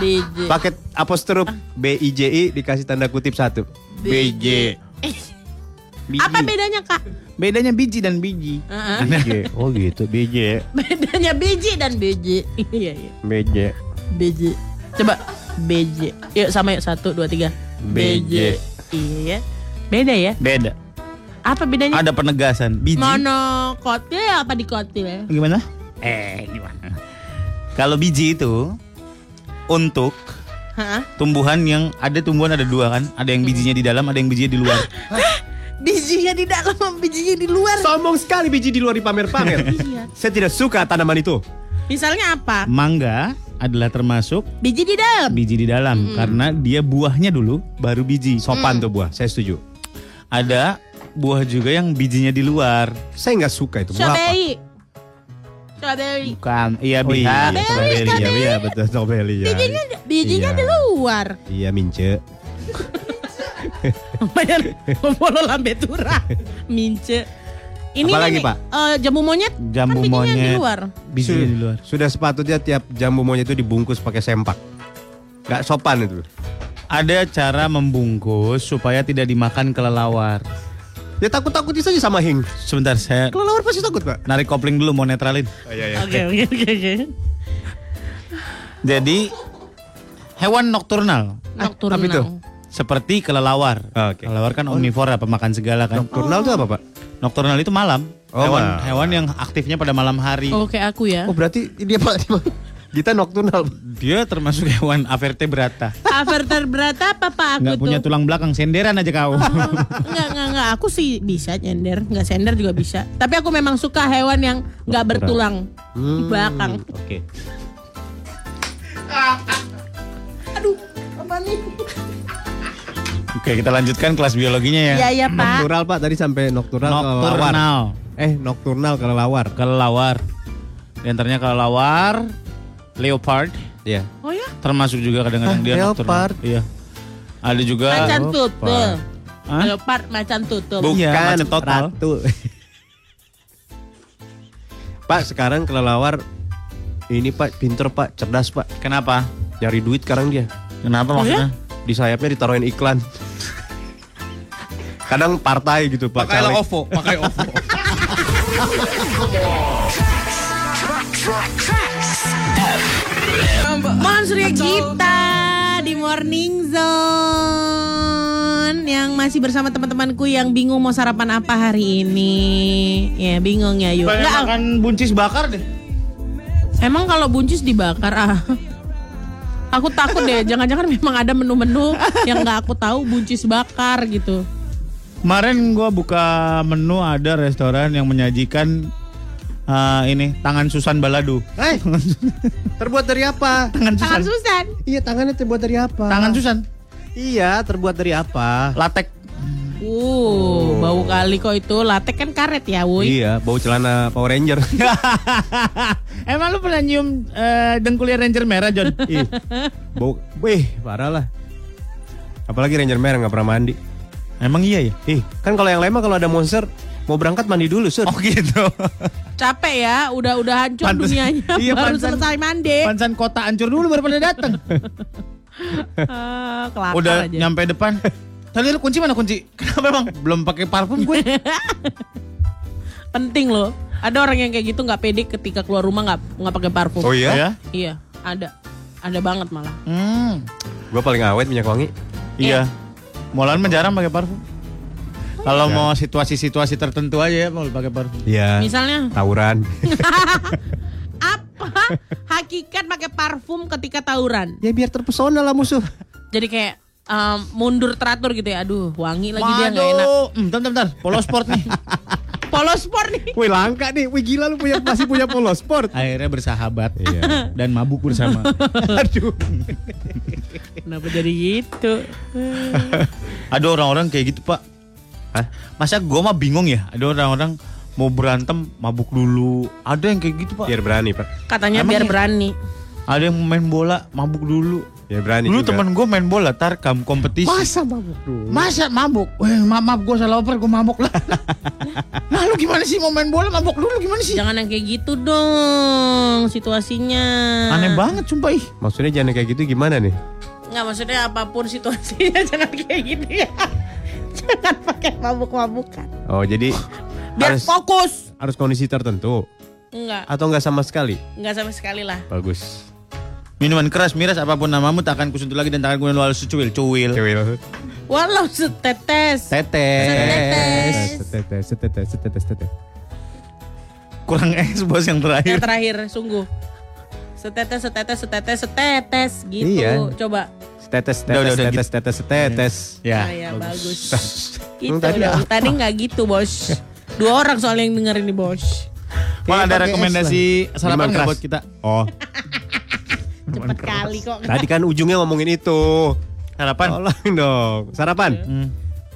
[SPEAKER 2] Biji.
[SPEAKER 4] Paket apostrof B I J I dikasih tanda kutip satu.
[SPEAKER 2] Biji.
[SPEAKER 3] Biji.
[SPEAKER 2] Apa bedanya kak?
[SPEAKER 3] Bedanya biji dan biji.
[SPEAKER 2] Heeh.
[SPEAKER 4] Biji. Oh gitu. Biji.
[SPEAKER 2] Bedanya biji dan biji. Iya iya.
[SPEAKER 4] Biji.
[SPEAKER 2] Biji. Coba biji. Yuk sama yuk satu dua tiga.
[SPEAKER 4] Biji.
[SPEAKER 2] Iya ya. Beda ya.
[SPEAKER 3] Beda.
[SPEAKER 2] Apa bedanya?
[SPEAKER 3] Ada penegasan. Biji.
[SPEAKER 2] Monokotil ya, apa dikotil?
[SPEAKER 3] Gimana? Eh, gimana? Kalau biji itu untuk
[SPEAKER 2] Hah?
[SPEAKER 3] tumbuhan yang ada tumbuhan ada dua kan, ada yang bijinya di dalam, ada yang bijinya di luar.
[SPEAKER 2] Bijinya di dalam, bijinya di luar.
[SPEAKER 4] Sombong sekali biji di luar dipamer-pamer. Saya tidak suka tanaman itu.
[SPEAKER 2] Misalnya apa?
[SPEAKER 3] Mangga adalah termasuk
[SPEAKER 2] Biji di dalam.
[SPEAKER 3] biji di dalam karena dia buahnya dulu baru biji.
[SPEAKER 4] Sopan tuh buah. Saya setuju.
[SPEAKER 3] Ada buah juga yang bijinya di luar.
[SPEAKER 4] Saya nggak suka itu. Buah apa?
[SPEAKER 2] Strawberry. Strawberry.
[SPEAKER 3] Bukan, iya
[SPEAKER 4] Oh iya,
[SPEAKER 3] bisa.
[SPEAKER 4] strawberry ya, iya betul strawberry ya.
[SPEAKER 2] Bijinya bijinya
[SPEAKER 4] Iya.
[SPEAKER 2] di luar.
[SPEAKER 4] Iya mince.
[SPEAKER 2] Lumayan Polo lambe turah. Mince. Ini
[SPEAKER 4] Apalagi,
[SPEAKER 2] nih,
[SPEAKER 4] Pak?
[SPEAKER 2] eh, jambu monyet
[SPEAKER 3] Jambu
[SPEAKER 2] kan bijinya
[SPEAKER 3] monyet.
[SPEAKER 2] di luar.
[SPEAKER 3] Bijinya
[SPEAKER 4] Su-
[SPEAKER 3] di luar.
[SPEAKER 4] Sudah sepatutnya tiap jambu monyet itu dibungkus pakai sempak. Gak sopan itu.
[SPEAKER 3] Ada cara membungkus supaya tidak dimakan kelelawar.
[SPEAKER 4] Ya takut-takutin saja sama Hing.
[SPEAKER 3] Sebentar saya
[SPEAKER 4] Kelelawar pasti takut, Pak.
[SPEAKER 3] narik kopling dulu mau netralin.
[SPEAKER 2] Oke oke oke oke.
[SPEAKER 3] Jadi hewan nokturnal
[SPEAKER 2] Nocturnal.
[SPEAKER 4] apa Ah, itu?
[SPEAKER 3] seperti kelelawar.
[SPEAKER 4] Ah, Oke. Oh.
[SPEAKER 3] Kelelawar kan omnivora, pemakan segala kan.
[SPEAKER 4] Nocturnal itu apa, Pak?
[SPEAKER 3] Nokturnal itu malam.
[SPEAKER 4] Oh,
[SPEAKER 3] hewan
[SPEAKER 4] malam.
[SPEAKER 3] hewan yang aktifnya pada malam hari.
[SPEAKER 2] Oh kayak aku ya.
[SPEAKER 4] Oh, berarti dia Pak dia- Kita nocturnal.
[SPEAKER 3] Dia termasuk hewan averte-brata.
[SPEAKER 2] Avatar berata apa Pak aku
[SPEAKER 3] Nggak
[SPEAKER 2] tuh?
[SPEAKER 3] punya tulang belakang, senderan aja kau.
[SPEAKER 2] Enggak, enggak, enggak. Aku sih bisa nyender. Enggak sender juga bisa. Tapi aku memang suka hewan yang enggak bertulang. Belakang.
[SPEAKER 3] Hmm.
[SPEAKER 4] Oke.
[SPEAKER 2] Aduh, apa nih?
[SPEAKER 3] Oke, kita lanjutkan kelas biologinya ya.
[SPEAKER 2] Iya, iya, Pak.
[SPEAKER 4] Nocturnal, Pak. Tadi sampai nocturnal kelelawar.
[SPEAKER 3] Nokturnal,
[SPEAKER 4] Eh, nocturnal kelelawar.
[SPEAKER 3] kelelawar. Di antaranya kelelawar, leopard,
[SPEAKER 4] Iya.
[SPEAKER 2] Oh ya?
[SPEAKER 3] termasuk juga kadang-kadang
[SPEAKER 4] Hah,
[SPEAKER 3] dia nokturnal.
[SPEAKER 4] leopard?
[SPEAKER 3] Iya. Ada juga
[SPEAKER 2] Macan tutul.
[SPEAKER 3] Hah?
[SPEAKER 2] Leopard macan tutul.
[SPEAKER 3] Bukan,
[SPEAKER 4] Bukan
[SPEAKER 3] macet total.
[SPEAKER 4] Iya, ratu. Pak, sekarang kelelawar ini Pak pinter Pak, cerdas Pak.
[SPEAKER 3] Kenapa?
[SPEAKER 4] Nyari duit sekarang dia.
[SPEAKER 3] Kenapa
[SPEAKER 2] Oh ya?
[SPEAKER 3] maksudnya?
[SPEAKER 4] Di sayapnya ditaruhin iklan. Kadang partai gitu Pak.
[SPEAKER 3] Pakailah
[SPEAKER 4] caleg.
[SPEAKER 3] OVO, pakai OVO.
[SPEAKER 2] Mohon Surya Gita di Morning Zone yang masih bersama teman-temanku yang bingung mau sarapan apa hari ini. Ya, bingung ya, yuk.
[SPEAKER 3] Pengen
[SPEAKER 2] Enggak,
[SPEAKER 3] makan buncis bakar deh.
[SPEAKER 2] Emang kalau buncis dibakar ah. Aku takut deh, jangan-jangan memang ada menu-menu yang nggak aku tahu buncis bakar gitu.
[SPEAKER 3] Kemarin gua buka menu ada restoran yang menyajikan eh, ini tangan Susan Baladu.
[SPEAKER 4] Eh, terbuat dari apa?
[SPEAKER 3] Tangan Susan.
[SPEAKER 2] Tangan Susan.
[SPEAKER 4] Iya, tangannya terbuat dari apa?
[SPEAKER 3] Tangan Susan.
[SPEAKER 4] Iya, terbuat dari apa?
[SPEAKER 3] Latek.
[SPEAKER 2] Uh,
[SPEAKER 3] Oh.
[SPEAKER 2] bau kali kok itu. Latek kan karet ya, woi.
[SPEAKER 4] Iya, bau celana Power Ranger.
[SPEAKER 3] Emang lu pernah nyium eh, dengkulnya Ranger merah, John?
[SPEAKER 4] Ih, bau, wih, parah lah. Apalagi Ranger merah nggak pernah mandi.
[SPEAKER 3] Emang iya ya?
[SPEAKER 4] Ih, kan kalau yang lain mah kalau ada monster mau berangkat mandi dulu, Sur.
[SPEAKER 3] Oh gitu.
[SPEAKER 2] Capek ya, udah-udah hancur
[SPEAKER 3] Pantes-
[SPEAKER 2] dunianya.
[SPEAKER 3] iya,
[SPEAKER 2] baru
[SPEAKER 3] pantesan-
[SPEAKER 2] selesai mandi.
[SPEAKER 3] Pansan kota hancur dulu baru pada datang.
[SPEAKER 2] Ah, kelakar
[SPEAKER 3] Udah
[SPEAKER 2] aja.
[SPEAKER 3] nyampe depan. Tadi lu kunci mana kunci? Kenapa bang? Belum pakai parfum gue.
[SPEAKER 2] Penting loh. Ada orang yang kayak gitu nggak pede ketika
[SPEAKER 3] Oh iya?
[SPEAKER 2] keluar rumah nggak nggak pakai parfum.
[SPEAKER 4] iya?
[SPEAKER 2] Iya, ada. Ada banget malah.
[SPEAKER 3] Hmm.
[SPEAKER 4] Gue paling awet minyak wangi.
[SPEAKER 3] Iya. Molan mah jarang pakai parfum. Kalau mau situasi-situasi tertentu aja ya mau pakai parfum.
[SPEAKER 4] Iya.
[SPEAKER 2] Misalnya
[SPEAKER 4] Tawuran.
[SPEAKER 2] apa hakikat pakai parfum ketika tawuran?
[SPEAKER 9] Ya biar terpesona lah musuh.
[SPEAKER 2] Jadi kayak um, mundur teratur gitu ya. Aduh, wangi lagi dia nggak enak.
[SPEAKER 3] Waduh, Hmm, bentar, bentar, bentar. Polo sport nih.
[SPEAKER 2] Polos sport nih.
[SPEAKER 9] Wih langka nih, wih gila lu punya masih punya polo sport.
[SPEAKER 3] Akhirnya bersahabat
[SPEAKER 4] Iya.
[SPEAKER 3] dan mabuk bersama. Aduh.
[SPEAKER 2] Kenapa jadi gitu?
[SPEAKER 3] Ada orang-orang kayak gitu, Pak. Hah? Masa gue mah bingung ya. Ada orang-orang mau berantem mabuk dulu. Ada yang kayak gitu, Pak.
[SPEAKER 4] Biar berani pak.
[SPEAKER 2] Katanya
[SPEAKER 3] Emang
[SPEAKER 2] biar
[SPEAKER 3] iya?
[SPEAKER 2] berani.
[SPEAKER 3] Ada yang main bola mabuk dulu.
[SPEAKER 4] Biar berani.
[SPEAKER 3] Dulu
[SPEAKER 4] juga.
[SPEAKER 3] teman gue main bola tarkam kompetisi.
[SPEAKER 4] mabuk dulu?
[SPEAKER 3] Masa mabuk? Weh, maaf, maaf gue salah oper, gue mabuk lah. nah lu gimana sih mau main bola mabuk dulu gimana sih?
[SPEAKER 2] Jangan yang kayak gitu dong situasinya.
[SPEAKER 3] Aneh banget sumpah ih.
[SPEAKER 4] Maksudnya jangan kayak gitu gimana nih?
[SPEAKER 2] Nggak maksudnya apapun situasinya jangan kayak gini ya. jangan pakai mabuk-mabukan.
[SPEAKER 4] Oh jadi
[SPEAKER 2] Biar
[SPEAKER 4] harus
[SPEAKER 2] fokus.
[SPEAKER 4] harus kondisi tertentu
[SPEAKER 2] Enggak,
[SPEAKER 4] atau nggak sama sekali?
[SPEAKER 2] enggak sama sekali lah.
[SPEAKER 4] Bagus.
[SPEAKER 3] Minuman keras miras apapun namamu takkan kusentuh lagi dan takkan kusentuh lalu secuil cuil.
[SPEAKER 4] Cewek.
[SPEAKER 2] Walau setetes.
[SPEAKER 3] Tetes.
[SPEAKER 4] Setetes, setetes, setetes, setetes.
[SPEAKER 3] Kurang es bos yang
[SPEAKER 2] Yang
[SPEAKER 3] terakhir.
[SPEAKER 2] terakhir, sungguh. Setetes, setetes, setetes, setetes gitu.
[SPEAKER 4] Iya.
[SPEAKER 2] Coba.
[SPEAKER 4] Setetes,
[SPEAKER 3] Udah, udah, udah,
[SPEAKER 4] setetes, setetes,
[SPEAKER 3] gitu.
[SPEAKER 4] setetes, setetes.
[SPEAKER 3] Ya.
[SPEAKER 4] Oh,
[SPEAKER 2] Ah, ya,
[SPEAKER 4] iya,
[SPEAKER 2] bagus. Gitu
[SPEAKER 4] Hmm, tadi
[SPEAKER 2] dong. Tadi nggak gitu, Bos. Dua orang soalnya yang dengerin nih, Bos.
[SPEAKER 3] Mal ada
[SPEAKER 4] Pakai es
[SPEAKER 3] rekomendasi sarapan
[SPEAKER 4] Minuman
[SPEAKER 3] nggak
[SPEAKER 4] keras.
[SPEAKER 3] buat kita?
[SPEAKER 4] Oh,
[SPEAKER 2] Cepet kali kok.
[SPEAKER 4] tadi kan ujungnya ngomongin itu.
[SPEAKER 3] Sarapan.
[SPEAKER 4] Tolong dong. Sarapan.
[SPEAKER 3] Hmm.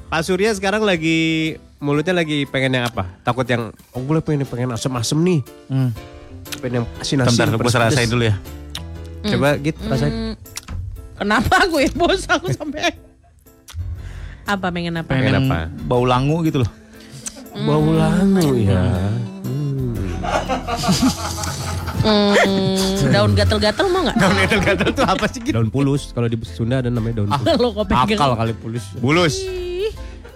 [SPEAKER 4] Pak Surya sekarang lagi mulutnya lagi pengen yang apa? Takut yang oh gue pengen pengen asem-asem nih.
[SPEAKER 3] Hmm.
[SPEAKER 4] Pengen yang asin-asin.
[SPEAKER 3] Bentar, gue
[SPEAKER 4] pedes-pedes.
[SPEAKER 3] serasain dulu ya.
[SPEAKER 4] Coba gitu rasain.
[SPEAKER 2] Hmm, Kenapa aku ya, Bos? Aku sampai apa pengen apa?
[SPEAKER 4] Pengen
[SPEAKER 3] Pengen
[SPEAKER 4] apa?
[SPEAKER 3] bau langu gitu loh.
[SPEAKER 4] Bau langu ya.
[SPEAKER 2] Hmm, daun gatel-gatel mau nggak?
[SPEAKER 3] Daun gatel-gatel tuh apa sih gitu?
[SPEAKER 4] Daun pulus kalau di Sunda ada namanya daun
[SPEAKER 3] Ah.
[SPEAKER 4] pulus.
[SPEAKER 2] Lo kok pegang?
[SPEAKER 3] Akal kali pulus.
[SPEAKER 4] Bulus.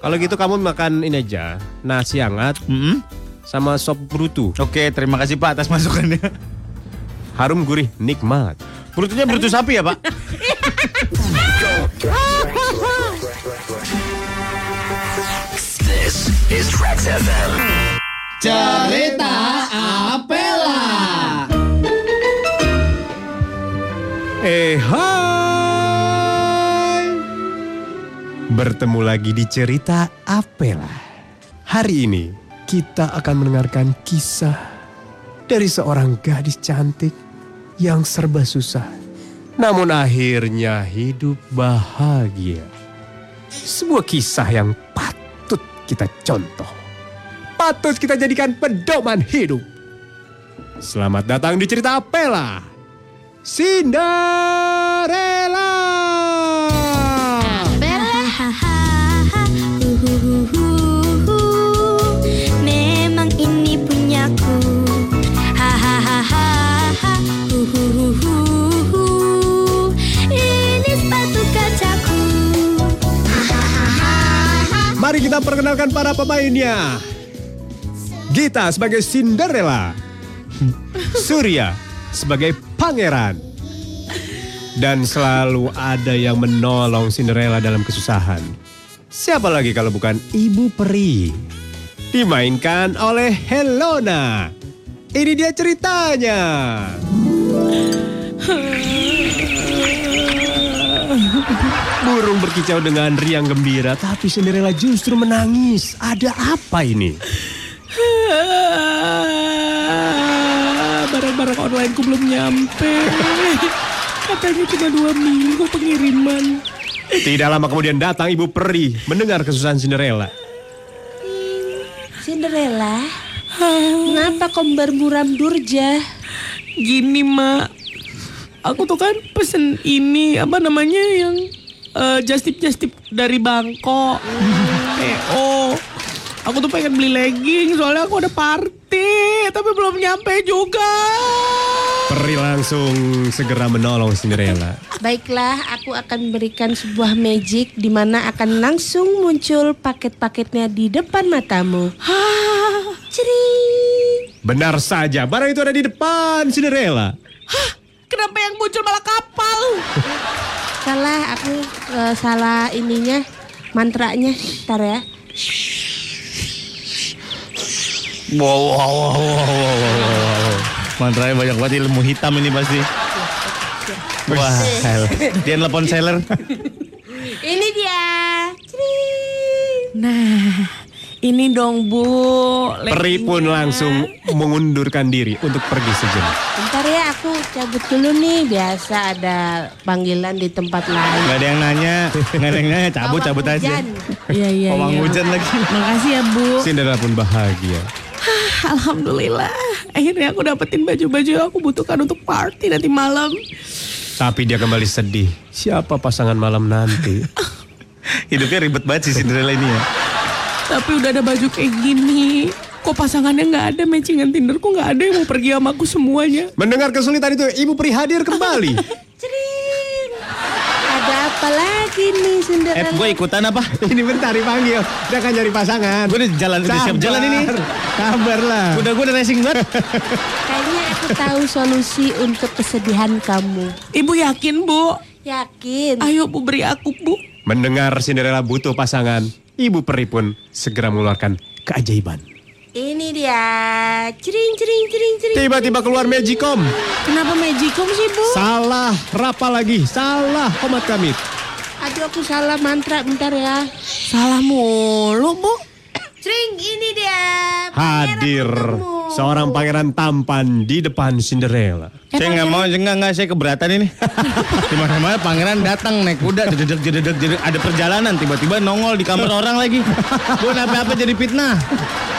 [SPEAKER 4] Kalau gitu kamu makan ini aja, nasi hangat
[SPEAKER 3] Mm-mm.
[SPEAKER 4] sama sop brutu.
[SPEAKER 3] Oke, terima kasih Pak atas masukannya.
[SPEAKER 4] Harum gurih, nikmat.
[SPEAKER 3] Brutunya brutu sapi ya Pak?
[SPEAKER 4] Eh hai. Bertemu lagi di cerita Apela. Hari ini kita akan mendengarkan kisah dari seorang gadis cantik yang serba susah. Namun akhirnya hidup bahagia. Sebuah kisah yang patut kita contoh. Patut kita jadikan pedoman hidup. Selamat datang di cerita Apela. Cinderella.
[SPEAKER 10] Memang ini punyaku Hahaha Ini sepatu kacaku
[SPEAKER 4] Mari kita perkenalkan para pemainnya. Gita sebagai Cinderella. Surya sebagai pangeran. Dan selalu ada yang menolong Cinderella dalam kesusahan. Siapa lagi kalau bukan Ibu Peri? Dimainkan oleh Helona. Ini dia ceritanya. Burung berkicau dengan riang gembira, tapi Cinderella justru menangis. Ada apa ini? Barang-barang onlineku belum nyampe. Katanya cuma dua minggu pengiriman. Tidak lama kemudian datang Ibu Peri mendengar kesusahan Cinderella.
[SPEAKER 10] Cinderella Kenapa kau bermuram durja?
[SPEAKER 8] Gini mak, aku tuh kan pesen ini apa namanya yang eh, justip justip dari Bangkok, PO. Aku tuh pengen beli legging soalnya aku ada party tapi belum nyampe juga.
[SPEAKER 4] Peri langsung segera menolong Cinderella.
[SPEAKER 10] Baiklah, aku akan berikan sebuah magic di mana akan langsung muncul paket-paketnya di depan matamu. Cering.
[SPEAKER 4] Benar saja, barang itu ada di depan Cinderella.
[SPEAKER 8] Kenapa yang muncul malah kapal?
[SPEAKER 5] salah aku eh, salah ininya mantranya ntar ya
[SPEAKER 3] Wow, wow, wow, wow, wow, wow, wow, wow. Mantranya banyak banget ilmu hitam ini pasti. Wah, hell. dia telepon seller.
[SPEAKER 5] ini dia
[SPEAKER 8] Nah, ini dong Bu.
[SPEAKER 4] Peri pun langsung mengundurkan diri untuk pergi sejenak.
[SPEAKER 5] ntar ya aku cabut dulu nih biasa ada panggilan di tempat lain
[SPEAKER 3] Gak ada yang nanya, gak ada yang nanya, cabut
[SPEAKER 5] Bawang
[SPEAKER 3] cabut aja.
[SPEAKER 5] hujan.
[SPEAKER 8] Iya iya.
[SPEAKER 3] Pawang
[SPEAKER 8] iya.
[SPEAKER 3] hujan lagi.
[SPEAKER 8] Makasih ya Bu.
[SPEAKER 4] Cinderella pun bahagia.
[SPEAKER 8] Alhamdulillah. Akhirnya aku dapetin baju-baju yang aku butuhkan untuk party nanti malam.
[SPEAKER 4] Tapi dia kembali sedih. Siapa pasangan malam nanti?
[SPEAKER 3] Hidupnya ribet banget si Cinderella ini ya.
[SPEAKER 8] Tapi udah ada baju kayak gini. Kok pasangannya nggak ada matchingan Tinder? Kok nggak ada yang mau pergi sama aku semuanya?
[SPEAKER 4] Mendengar kesulitan itu, Ibu Pri hadir kembali.
[SPEAKER 5] Cering. ada apa lagi nih
[SPEAKER 3] Eh,
[SPEAKER 5] Cinderella
[SPEAKER 3] gue ikutan apa?
[SPEAKER 4] ini bentar dipanggil. Dia akan cari pasangan.
[SPEAKER 3] Gue udah jalan, udah siap jalan ini.
[SPEAKER 4] Kabarlah.
[SPEAKER 3] Udah gue udah racing banget.
[SPEAKER 5] kayaknya aku tahu solusi untuk kesedihan kamu
[SPEAKER 8] Ibu yakin Bu?
[SPEAKER 5] yakin
[SPEAKER 8] Ayo Bu beri aku Bu.
[SPEAKER 4] Mendengar Cinderella butuh pasangan, Ibu Peri pun segera mengeluarkan keajaiban.
[SPEAKER 5] ini dia cering cering cering cering Oh,
[SPEAKER 4] Tiba-tiba keluar Magicom.
[SPEAKER 2] Kenapa magicom sih bu?
[SPEAKER 4] Salah, rapa lagi. Salah, komat kami.
[SPEAKER 5] aduh aku salah mantra bentar ya
[SPEAKER 8] Salah mulu Bu.
[SPEAKER 5] Cering ini dia
[SPEAKER 4] Hadir seorang pangeran tampan di depan Cinderella.
[SPEAKER 3] Saya nggak mau, saya nggak nggak saya keberatan ini. Dimana-mana pangeran datang naik kuda, jededek jededek jededek. ada perjalanan tiba-tiba nongol di kamar orang lagi. Gue apa-apa jadi fitnah.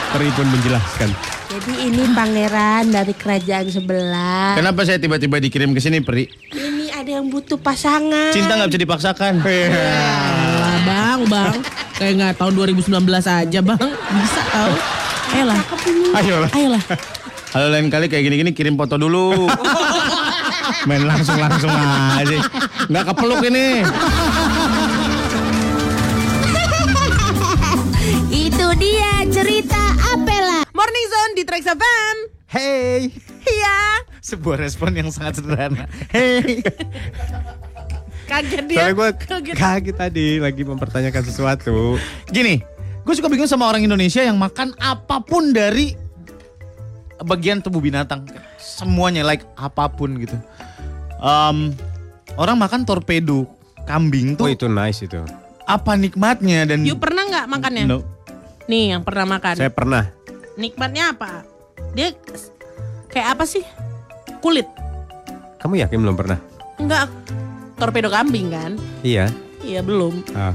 [SPEAKER 4] Peri pun menjelaskan.
[SPEAKER 5] Jadi ini pangeran dari kerajaan
[SPEAKER 8] Eh.
[SPEAKER 5] sebelah.
[SPEAKER 3] Kenapa saya tiba-tiba dikirim ke sini, Peri?
[SPEAKER 5] Ini ada yang butuh pasangan.
[SPEAKER 3] Cinta nggak bisa dipaksakan. Iya.
[SPEAKER 2] Alah, bang, bang. Kayak nggak tahun 2019 aja bang. Bisa tau. Ayolah,
[SPEAKER 3] Ayolah.
[SPEAKER 2] ayolah.
[SPEAKER 3] Kalau lain kali kayak gini-gini kirim foto dulu. Main langsung-langsung aja. Nggak kepeluk ini.
[SPEAKER 5] Itu dia cerita Apela.
[SPEAKER 2] Morning Zone di Trax FM.
[SPEAKER 3] Hey.
[SPEAKER 2] Iya.
[SPEAKER 3] Sebuah respon yang sangat sederhana. Hey.
[SPEAKER 2] Kaget dia.
[SPEAKER 4] Soalnya gue kaget tadi lagi mempertanyakan sesuatu.
[SPEAKER 3] Gini, gue suka bingung sama orang Indonesia yang makan apapun dari bagian tubuh binatang. Semuanya like apapun gitu. Em, orang makan torpedo kambing
[SPEAKER 4] Oh
[SPEAKER 3] tuh
[SPEAKER 4] itu nice itu.
[SPEAKER 3] apa nikmatnya dan
[SPEAKER 2] Yuk pernah nggak makannya?
[SPEAKER 3] No.
[SPEAKER 2] Nih yang pernah makan.
[SPEAKER 4] Saya pernah.
[SPEAKER 2] Nikmatnya apa? Dia s- kayak apa sih? Kulit.
[SPEAKER 4] Kamu yakin belum pernah?
[SPEAKER 2] Enggak. Torpedo kambing kan?
[SPEAKER 4] Iya.
[SPEAKER 2] Iya belum.
[SPEAKER 4] Ah.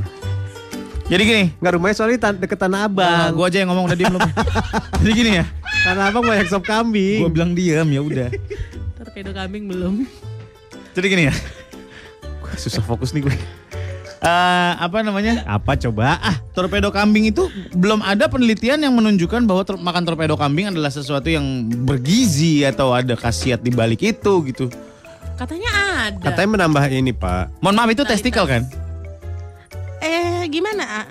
[SPEAKER 3] Jadi gini,
[SPEAKER 4] Nggak rumahnya soalnya tan- deket
[SPEAKER 3] Nah,
[SPEAKER 4] Tanah Abang.
[SPEAKER 3] gue aja yang ngomong udah diem lu. Jadi gini ya,
[SPEAKER 4] Tanah Abang banyak sop
[SPEAKER 3] gue
[SPEAKER 4] kambing.
[SPEAKER 3] bilang diem ya udah.
[SPEAKER 2] Torpedo kambing belum.
[SPEAKER 3] Jadi gini ya,
[SPEAKER 4] Gua susah fokus nih gue.
[SPEAKER 3] eh, apa namanya?
[SPEAKER 4] Apa coba? Ah,
[SPEAKER 3] Torpedo kambing itu belum ada penelitian yang menunjukkan bahwa tor- makan torpedo kambing adalah sesuatu yang bergizi atau ada khasiat di balik itu gitu.
[SPEAKER 2] Katanya ada.
[SPEAKER 4] katanya menambah ini pak.
[SPEAKER 3] Mohon maaf itu testikel kan?
[SPEAKER 2] Eh gimana? A?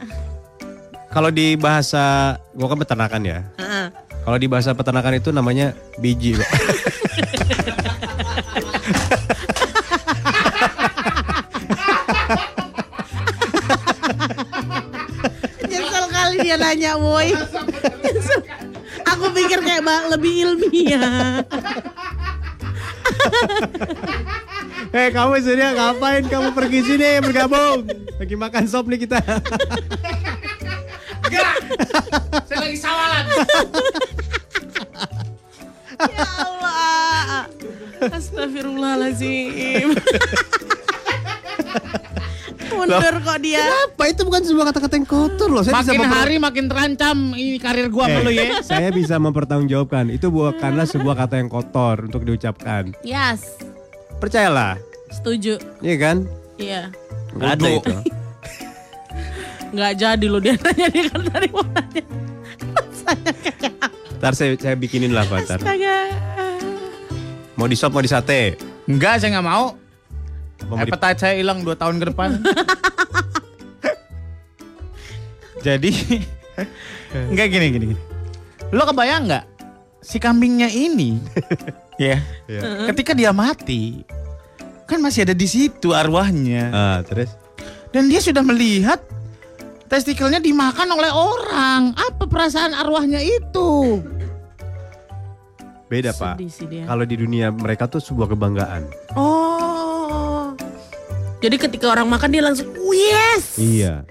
[SPEAKER 4] Kalau di bahasa, gue kan peternakan ya.
[SPEAKER 2] Heeh.
[SPEAKER 4] Kalau di bahasa peternakan itu namanya biji. Pak.
[SPEAKER 2] Nyesel kali dia nanya woi. Nyesel. Aku pikir kayak ba- lebih ilmiah.
[SPEAKER 4] Eh kamu sebenarnya ngapain kamu pergi sini bergabung? Lagi makan sop nih kita.
[SPEAKER 2] ya Allah. Astagfirullahaladzim. Mundur kok dia.
[SPEAKER 4] Apa itu bukan sebuah kata-kata yang kotor loh. Saya
[SPEAKER 11] Makin
[SPEAKER 4] memper-
[SPEAKER 11] hari makin terancam ini karir gua
[SPEAKER 4] Eh,
[SPEAKER 11] perlu ya.
[SPEAKER 4] Saya bisa mempertanggungjawabkan. Itu bukanlah sebuah kata yang kotor untuk diucapkan.
[SPEAKER 2] Yes,
[SPEAKER 4] Percayalah,
[SPEAKER 2] setuju.
[SPEAKER 4] iya kan?
[SPEAKER 2] Iya.
[SPEAKER 4] Nggak ada
[SPEAKER 3] Bodoh.
[SPEAKER 4] itu.
[SPEAKER 2] Nggak jadi lo dia nanya dia kan tadi mau nanya.
[SPEAKER 4] Ntar saya, saya bikinin lah Pak, ntar.
[SPEAKER 2] Astaga.
[SPEAKER 4] Mau di sop, mau di sate.
[SPEAKER 3] Enggak, saya nggak mau.
[SPEAKER 4] Apa mau di-
[SPEAKER 3] Appetite saya hilang 2 tahun ke depan. Jadi enggak gini gini gini. Lo kebayang nggak si kambingnya ini? ya. Ketika dia mati, kan masih ada di situ arwahnya.
[SPEAKER 4] Ah, terus?
[SPEAKER 3] Dan dia sudah melihat testikelnya dimakan oleh orang. Apa perasaan arwahnya itu?
[SPEAKER 4] Beda pak.
[SPEAKER 2] Sedih sih dia.
[SPEAKER 4] Kalau di dunia mereka tuh sebuah kebanggaan.
[SPEAKER 2] Oh. Jadi ketika orang makan dia langsung, oh yes,
[SPEAKER 4] Iya.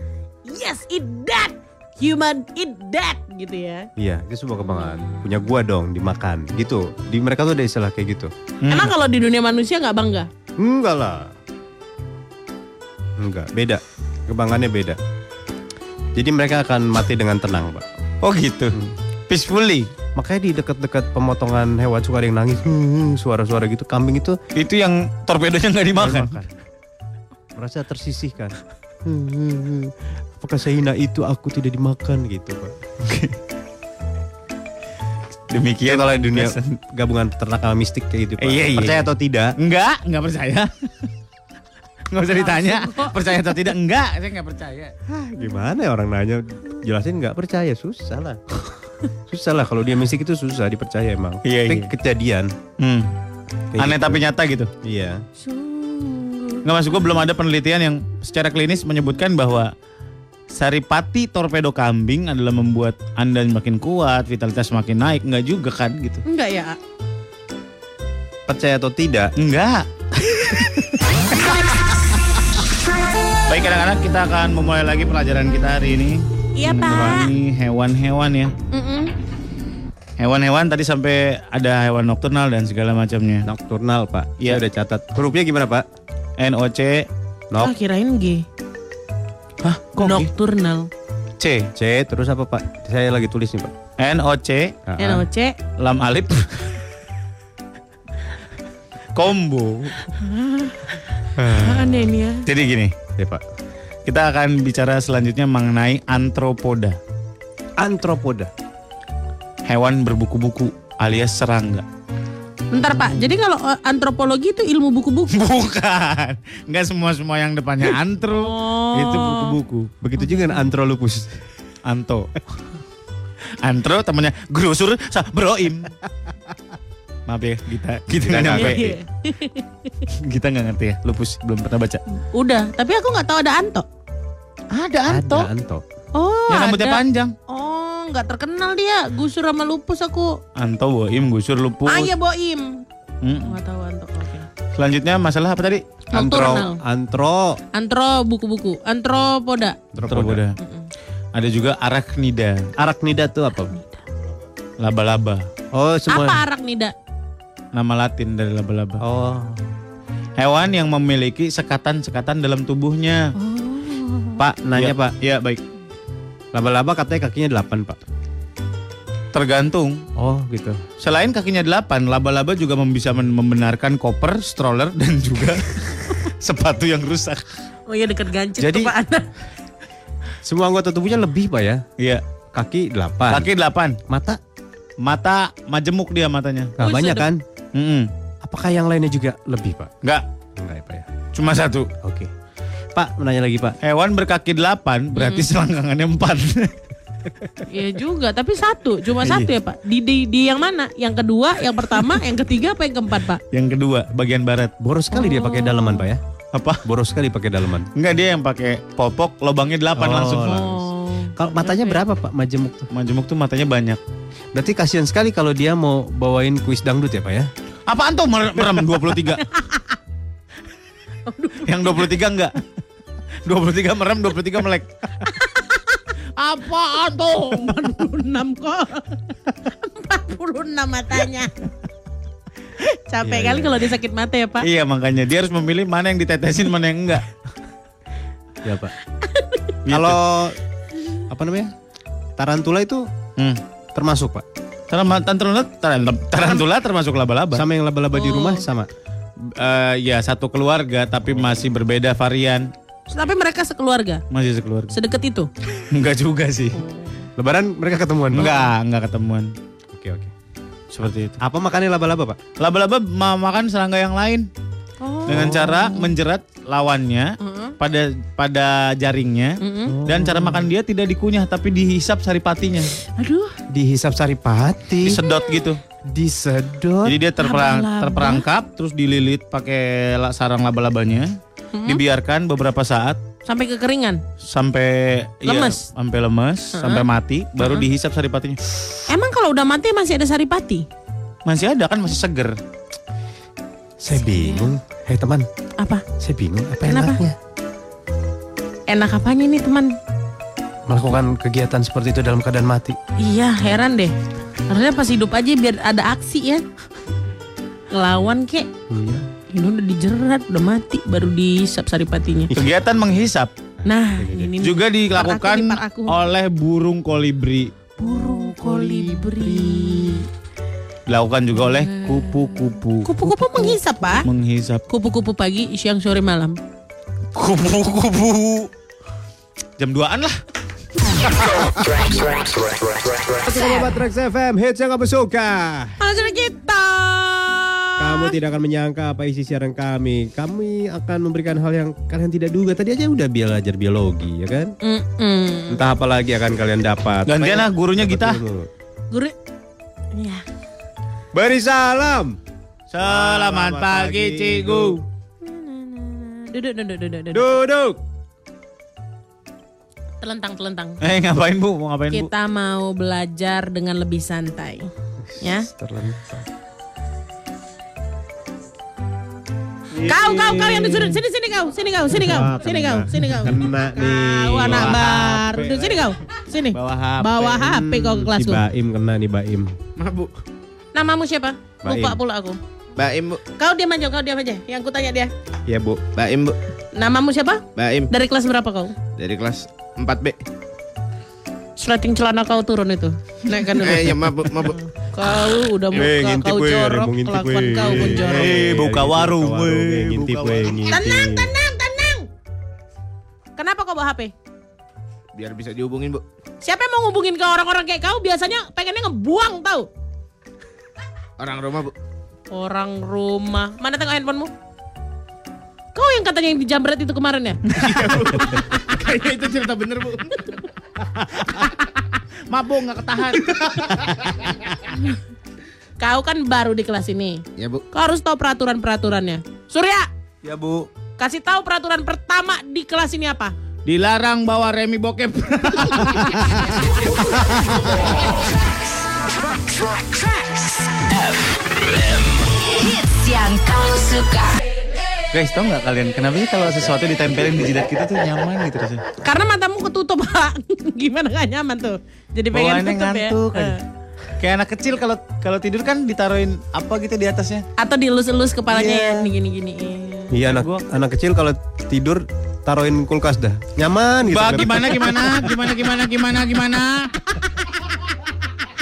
[SPEAKER 8] yes eat that, human eat that gitu ya.
[SPEAKER 4] Iya, itu sebuah kebanggaan. Punya gua dong dimakan, gitu. Di mereka tuh ada istilah kayak gitu.
[SPEAKER 2] Emang kalau di dunia manusia nggak bangga?
[SPEAKER 4] Enggak lah. Enggak, beda. Kebanggaannya beda. Jadi mereka akan mati dengan tenang, Pak.
[SPEAKER 3] Oh gitu. Peacefully.
[SPEAKER 4] Makanya di dekat-dekat pemotongan hewan suka ada yang nangis, "Hmm," suara-suara gitu. Kambing itu
[SPEAKER 3] Itu yang torpedonya nggak dimakan.
[SPEAKER 4] merasa tersisihkan. "Hmm, hmm, hmm. Apakah sehina itu aku tidak dimakan gitu, Pak?
[SPEAKER 3] Demikian
[SPEAKER 4] kalau di dunia
[SPEAKER 3] Jason.
[SPEAKER 4] gabungan peternak sama mistik kayak gitu, Pak.
[SPEAKER 3] Iya, iya.
[SPEAKER 4] Percaya atau tidak?
[SPEAKER 3] Enggak, enggak percaya. Enggak usah ditanya. Percaya atau tidak? Enggak, saya enggak percaya.
[SPEAKER 4] Gimana ya orang nanya jelasin nggak percaya susah lah. susah lah kalau dia mistik itu susah dipercaya emang.
[SPEAKER 3] Iya,
[SPEAKER 4] Tapi
[SPEAKER 3] iya.
[SPEAKER 4] Kejadian.
[SPEAKER 3] Hmm. Aneh tapi nyata gitu.
[SPEAKER 4] Iya.
[SPEAKER 3] Nggak masuk gua belum ada penelitian yang secara klinis menyebutkan bahwa saripati torpedo kambing adalah membuat Anda makin kuat, vitalitas makin naik. Enggak juga kan gitu.
[SPEAKER 8] Enggak ya.
[SPEAKER 4] Percaya atau tidak?
[SPEAKER 3] Enggak. Baik, kadang-kadang kita akan memulai lagi pelajaran kita hari ini.
[SPEAKER 5] Iya, Pak.
[SPEAKER 3] Menerangi hewan-hewan ya. Hewan-hewan tadi sampai ada hewan nokturnal dan segala macamnya.
[SPEAKER 4] Nokturnal, Pak.
[SPEAKER 3] Iya.
[SPEAKER 4] Saya udah catat. Hurufnya gimana, Pak?
[SPEAKER 3] NOC
[SPEAKER 4] Nok.
[SPEAKER 2] Ah, kirain G.
[SPEAKER 3] Hah, kok G?
[SPEAKER 2] Nocturnal.
[SPEAKER 3] C
[SPEAKER 4] C terus apa, Pak? Saya lagi tulis nih, Pak.
[SPEAKER 3] NOC
[SPEAKER 4] Ah,
[SPEAKER 2] NOC.
[SPEAKER 3] lam alif combo.
[SPEAKER 2] Apaan ya ini ya?
[SPEAKER 3] Jadi gini,
[SPEAKER 4] Ya, Pak.
[SPEAKER 3] kita akan bicara selanjutnya mengenai antropoda,
[SPEAKER 4] Antropoda.
[SPEAKER 3] hewan berbuku-buku alias serangga.
[SPEAKER 2] Ntar Pak, jadi kalau eh, antropologi itu ilmu buku-buku.
[SPEAKER 3] Bukan, nggak semua semua yang depannya antro itu buku-buku.
[SPEAKER 4] Oh. Begitu juga dengan antrolupus.
[SPEAKER 3] Anto. Antro temannya grosur sa broim. Maaf ya, kita kita nggak
[SPEAKER 4] nggak
[SPEAKER 3] nyampe.
[SPEAKER 2] Iya.
[SPEAKER 3] Kita nggak ngerti ya, lupus belum pernah baca.
[SPEAKER 2] Udah, tapi aku nggak tahu ada Anto.
[SPEAKER 3] Ada
[SPEAKER 4] Ada anto.
[SPEAKER 2] Oh,
[SPEAKER 3] Yang rambutnya
[SPEAKER 2] ada.
[SPEAKER 3] panjang.
[SPEAKER 2] Oh, nggak terkenal dia. Gusur sama lupus aku.
[SPEAKER 3] Anto boim, gusur lupus.
[SPEAKER 2] Ah, iya Boim.
[SPEAKER 3] Mm.
[SPEAKER 2] Nggak tahu Anto. Oke.
[SPEAKER 3] Selanjutnya masalah apa tadi?
[SPEAKER 2] Nocturnal.
[SPEAKER 4] Antro.
[SPEAKER 2] Antro buku-buku. Antropoda.
[SPEAKER 3] Antropoda. Ada juga arachnida,
[SPEAKER 4] Arachnida tuh apa?
[SPEAKER 3] laba-laba.
[SPEAKER 4] Oh, semua.
[SPEAKER 2] Apa arak nida?
[SPEAKER 3] Nama Latin dari laba-laba.
[SPEAKER 4] Oh.
[SPEAKER 3] Hewan yang memiliki sekatan-sekatan dalam tubuhnya.
[SPEAKER 4] Pak,
[SPEAKER 3] Ya,
[SPEAKER 4] nanya, Pak.
[SPEAKER 3] Ya, baik.
[SPEAKER 4] Laba-laba katanya kakinya 8, Pak.
[SPEAKER 3] Tergantung
[SPEAKER 4] Oh, gitu.
[SPEAKER 3] Selain kakinya 8, laba-laba juga mem- bisa men- membenarkan koper, stroller, dan juga sepatu yang rusak.
[SPEAKER 2] Oh iya dekat gancet
[SPEAKER 4] Jadi-
[SPEAKER 2] tuh Pak Ana.
[SPEAKER 4] Semua anggota tubuhnya lebih, Pak ya.
[SPEAKER 3] Iya.
[SPEAKER 4] Kaki 8.
[SPEAKER 3] Kaki 8.
[SPEAKER 4] mata
[SPEAKER 3] Mata majemuk dia matanya.
[SPEAKER 4] nggak
[SPEAKER 2] Buset,
[SPEAKER 4] banyak
[SPEAKER 2] dok.
[SPEAKER 4] kan?
[SPEAKER 3] Mm-mm.
[SPEAKER 4] Apakah yang lainnya juga lebih, Pak?
[SPEAKER 3] Enggak,
[SPEAKER 4] Enggak ya, Pak ya.
[SPEAKER 3] cuma satu.
[SPEAKER 4] Oke. Pak, menanya lagi, Pak.
[SPEAKER 3] Hewan berkaki 8 berarti selangkangannya 4.
[SPEAKER 2] Iya juga, tapi satu, cuma satu ya Pak. Di, di di yang mana? Yang kedua, yang pertama, yang ketiga, apa yang keempat Pak?
[SPEAKER 3] yang kedua, bagian barat.
[SPEAKER 4] Boros sekali dia pakai daleman, Pak ya.
[SPEAKER 3] Apa?
[SPEAKER 4] Boros sekali pakai daleman.
[SPEAKER 3] Enggak dia yang pakai popok, lubangnya 8
[SPEAKER 4] Oh,
[SPEAKER 3] langsung.
[SPEAKER 4] lah.
[SPEAKER 2] Oh.
[SPEAKER 4] Kalau matanya berapa, Pak? Majemuk tuh.
[SPEAKER 3] Majemuk tuh matanya banyak.
[SPEAKER 4] Berarti kasihan sekali kalau dia mau bawain kuis dangdut ya, Pak ya.
[SPEAKER 3] Apaan tuh mer- merem 23? yang 23 enggak. 23 merem, 23 melek.
[SPEAKER 12] Apaan tuh?
[SPEAKER 2] 46 kok.
[SPEAKER 8] 46 matanya.
[SPEAKER 2] Capek kali kalau dia sakit mata ya Pak.
[SPEAKER 3] Iya makanya dia harus memilih mana yang ditetesin mana yang enggak.
[SPEAKER 4] Ya, Pak. Kalau apa namanya? Tarantula itu
[SPEAKER 3] Hmm.
[SPEAKER 4] termasuk, Pak.
[SPEAKER 3] Tarama- Tarantula, taran- tarantula termasuk laba-laba.
[SPEAKER 4] Sama yang laba-laba di rumah sama.
[SPEAKER 3] Eh, ya satu keluarga tapi masih berbeda varian.
[SPEAKER 2] Tapi mereka sekeluarga,
[SPEAKER 3] Masih sekeluarga.
[SPEAKER 2] sedekat itu.
[SPEAKER 3] Enggak juga sih.
[SPEAKER 4] Lebaran mereka ketemuan, Pak.
[SPEAKER 3] Enggak, enggak ketemuan.
[SPEAKER 4] Oke, oke.
[SPEAKER 3] Seperti itu.
[SPEAKER 4] Apa makannya laba-laba, Pak?
[SPEAKER 3] Laba-laba ma- makan serangga yang lain.
[SPEAKER 2] Oh.
[SPEAKER 3] Dengan cara menjerat lawannya pada pada jaringnya dan cara makan dia tidak dikunyah tapi dihisap saripatinya.
[SPEAKER 2] Aduh,
[SPEAKER 4] Dihisap saripati.
[SPEAKER 3] Disedot gitu.
[SPEAKER 13] disedot.
[SPEAKER 3] Jadi dia terperang,
[SPEAKER 13] Laba-laba.
[SPEAKER 3] terperangkap, terus dililit pakai la- sarang laba-labanya, dibiarkan beberapa saat
[SPEAKER 2] Sampai kekeringan.
[SPEAKER 3] sampai iya,
[SPEAKER 2] Lemes.
[SPEAKER 3] sampai lemes,
[SPEAKER 2] Heeh.
[SPEAKER 3] sampai mati, baru
[SPEAKER 2] Heeh.
[SPEAKER 3] dihisap saripatinya.
[SPEAKER 2] Emang kalau udah mati masih ada saripati?
[SPEAKER 3] Masih ada kan masih seger.
[SPEAKER 13] Saya bingung. Hei teman,
[SPEAKER 2] Apa?
[SPEAKER 13] saya bingung apa
[SPEAKER 2] Kenapa?
[SPEAKER 13] enaknya
[SPEAKER 2] Enak apanya nih teman?
[SPEAKER 13] melakukan kegiatan seperti itu dalam keadaan mati.
[SPEAKER 2] Iya heran deh. Harusnya pas hidup aja biar ada aksi ya. Ngelawan kek.
[SPEAKER 4] Oh,
[SPEAKER 13] Iya.
[SPEAKER 2] Ini udah dijerat, udah mati, baru dihisap saripatinya.
[SPEAKER 3] Kegiatan menghisap
[SPEAKER 2] Nah, Iya. ini nih.
[SPEAKER 3] juga dilakukan
[SPEAKER 2] Ipar aku, ipar aku.
[SPEAKER 3] oleh burung kolibri.
[SPEAKER 2] burung kolibri.
[SPEAKER 3] Dilakukan juga oleh
[SPEAKER 14] Hmm.
[SPEAKER 3] kupu-kupu.
[SPEAKER 2] Kupu-kupu menghisap, Pak.
[SPEAKER 3] Menghisap
[SPEAKER 2] Kupu-kupu pagi, siang, sore, malam.
[SPEAKER 3] kupu-kupu. Jam 2-an lah.
[SPEAKER 8] Masih sama Batrax FM, hits yang kamu suka.
[SPEAKER 15] Masuk kita.
[SPEAKER 8] Kamu tidak akan menyangka apa isi siaran kami. Kami akan memberikan hal yang kalian tidak duga. Tadi aja udah belajar biologi, ya kan?
[SPEAKER 2] Mm-mm.
[SPEAKER 8] Entah apa lagi akan kalian dapat.
[SPEAKER 3] Gantian lah gurunya kita.
[SPEAKER 2] Guru. Ya.
[SPEAKER 8] Beri salam.
[SPEAKER 3] Selamat pagi, Cikgu.
[SPEAKER 2] Duduk, duduk, duduk, duduk.
[SPEAKER 8] Duduk.
[SPEAKER 2] Telentang, telentang.
[SPEAKER 3] Eh ngapain Bu? Mau ngapain Bu?
[SPEAKER 2] Kita mau belajar dengan lebih santai. Ya. Kau, kau, kau yang disuruh. Sini, sini kau, sini kau, sini kau, sini kau, sini kau.
[SPEAKER 8] Kena nih.
[SPEAKER 2] Kau Ya anak
[SPEAKER 8] Bawa
[SPEAKER 2] baru.
[SPEAKER 8] HP.
[SPEAKER 2] Duduk sini kau. Sini.
[SPEAKER 8] Bawa HP.
[SPEAKER 2] Bawa HP kau ke kelas
[SPEAKER 8] Si
[SPEAKER 2] gua.
[SPEAKER 8] Baim kena nih Baim.
[SPEAKER 3] Maaf Bu.
[SPEAKER 2] Namamu siapa?
[SPEAKER 8] Baim.
[SPEAKER 2] Buka pula aku.
[SPEAKER 16] Baim bu,
[SPEAKER 2] Kau diam aja, kau diam aja. Yang ku tanya dia.
[SPEAKER 8] Iya bu.
[SPEAKER 16] Baim bu,
[SPEAKER 2] Namamu siapa?
[SPEAKER 16] Baim
[SPEAKER 2] Dari kelas berapa kau?
[SPEAKER 16] dari kelas 4 B.
[SPEAKER 2] Sleting celana kau turun itu. Naikkan dulu.
[SPEAKER 16] Eh ya maaf bu, maaf bu.
[SPEAKER 2] Kau udah
[SPEAKER 8] Eh,
[SPEAKER 2] muka
[SPEAKER 8] ngintip
[SPEAKER 2] kau
[SPEAKER 8] weh, ada
[SPEAKER 2] jorok,
[SPEAKER 8] yang mau ngintip
[SPEAKER 2] kelakuan
[SPEAKER 8] weh.
[SPEAKER 2] kau pun jorok.
[SPEAKER 3] Eh, buka warung,
[SPEAKER 8] weh,
[SPEAKER 3] weh,
[SPEAKER 8] ngintip
[SPEAKER 3] buka
[SPEAKER 8] weh,
[SPEAKER 3] warung.
[SPEAKER 8] ngintip.
[SPEAKER 2] Tenang, tenang, tenang. Kenapa kau bawa HP?
[SPEAKER 16] Biar bisa dihubungin bu.
[SPEAKER 2] Siapa yang mau ngubungin ke orang-orang kayak kau biasanya pengennya ngebuang tau.
[SPEAKER 16] Orang rumah bu.
[SPEAKER 2] Orang rumah. Mana tengok handphonemu? Kau yang katanya yang dijamret itu kemarin ya?
[SPEAKER 3] Kayaknya itu cerita bener Bu. Mabok nggak ketahan.
[SPEAKER 2] Kau kan baru di kelas ini.
[SPEAKER 16] Ya bu.
[SPEAKER 2] Kau harus tahu peraturan-peraturannya. Surya,
[SPEAKER 16] Ya bu.
[SPEAKER 2] kasih tahu peraturan pertama di kelas ini apa?
[SPEAKER 3] Dilarang bawa remi bokep.
[SPEAKER 14] Hits yang kamu suka.
[SPEAKER 3] Guys, tau nggak kalian kenapa sih kalau sesuatu ditempelin di jidat kita tuh nyaman gitu rasanya?
[SPEAKER 2] Karena matamu ketutup, Pak. Gimana gak nyaman tuh? Jadi pengen
[SPEAKER 3] Bawaannya
[SPEAKER 2] tutup
[SPEAKER 3] ngantuk
[SPEAKER 2] ya.
[SPEAKER 3] aja.
[SPEAKER 2] Eh.
[SPEAKER 3] Kayak anak kecil kalau kalau tidur kan ditaruhin apa gitu di atasnya.
[SPEAKER 2] Atau dielus-elus kepalanya
[SPEAKER 3] Iya.
[SPEAKER 2] yang gini-gini.
[SPEAKER 4] Iya anak anak kecil kalau tidur taruhin kulkas dah. Nyaman gitu.
[SPEAKER 3] Ba, gimana gimana gimana gimana gimana gimana.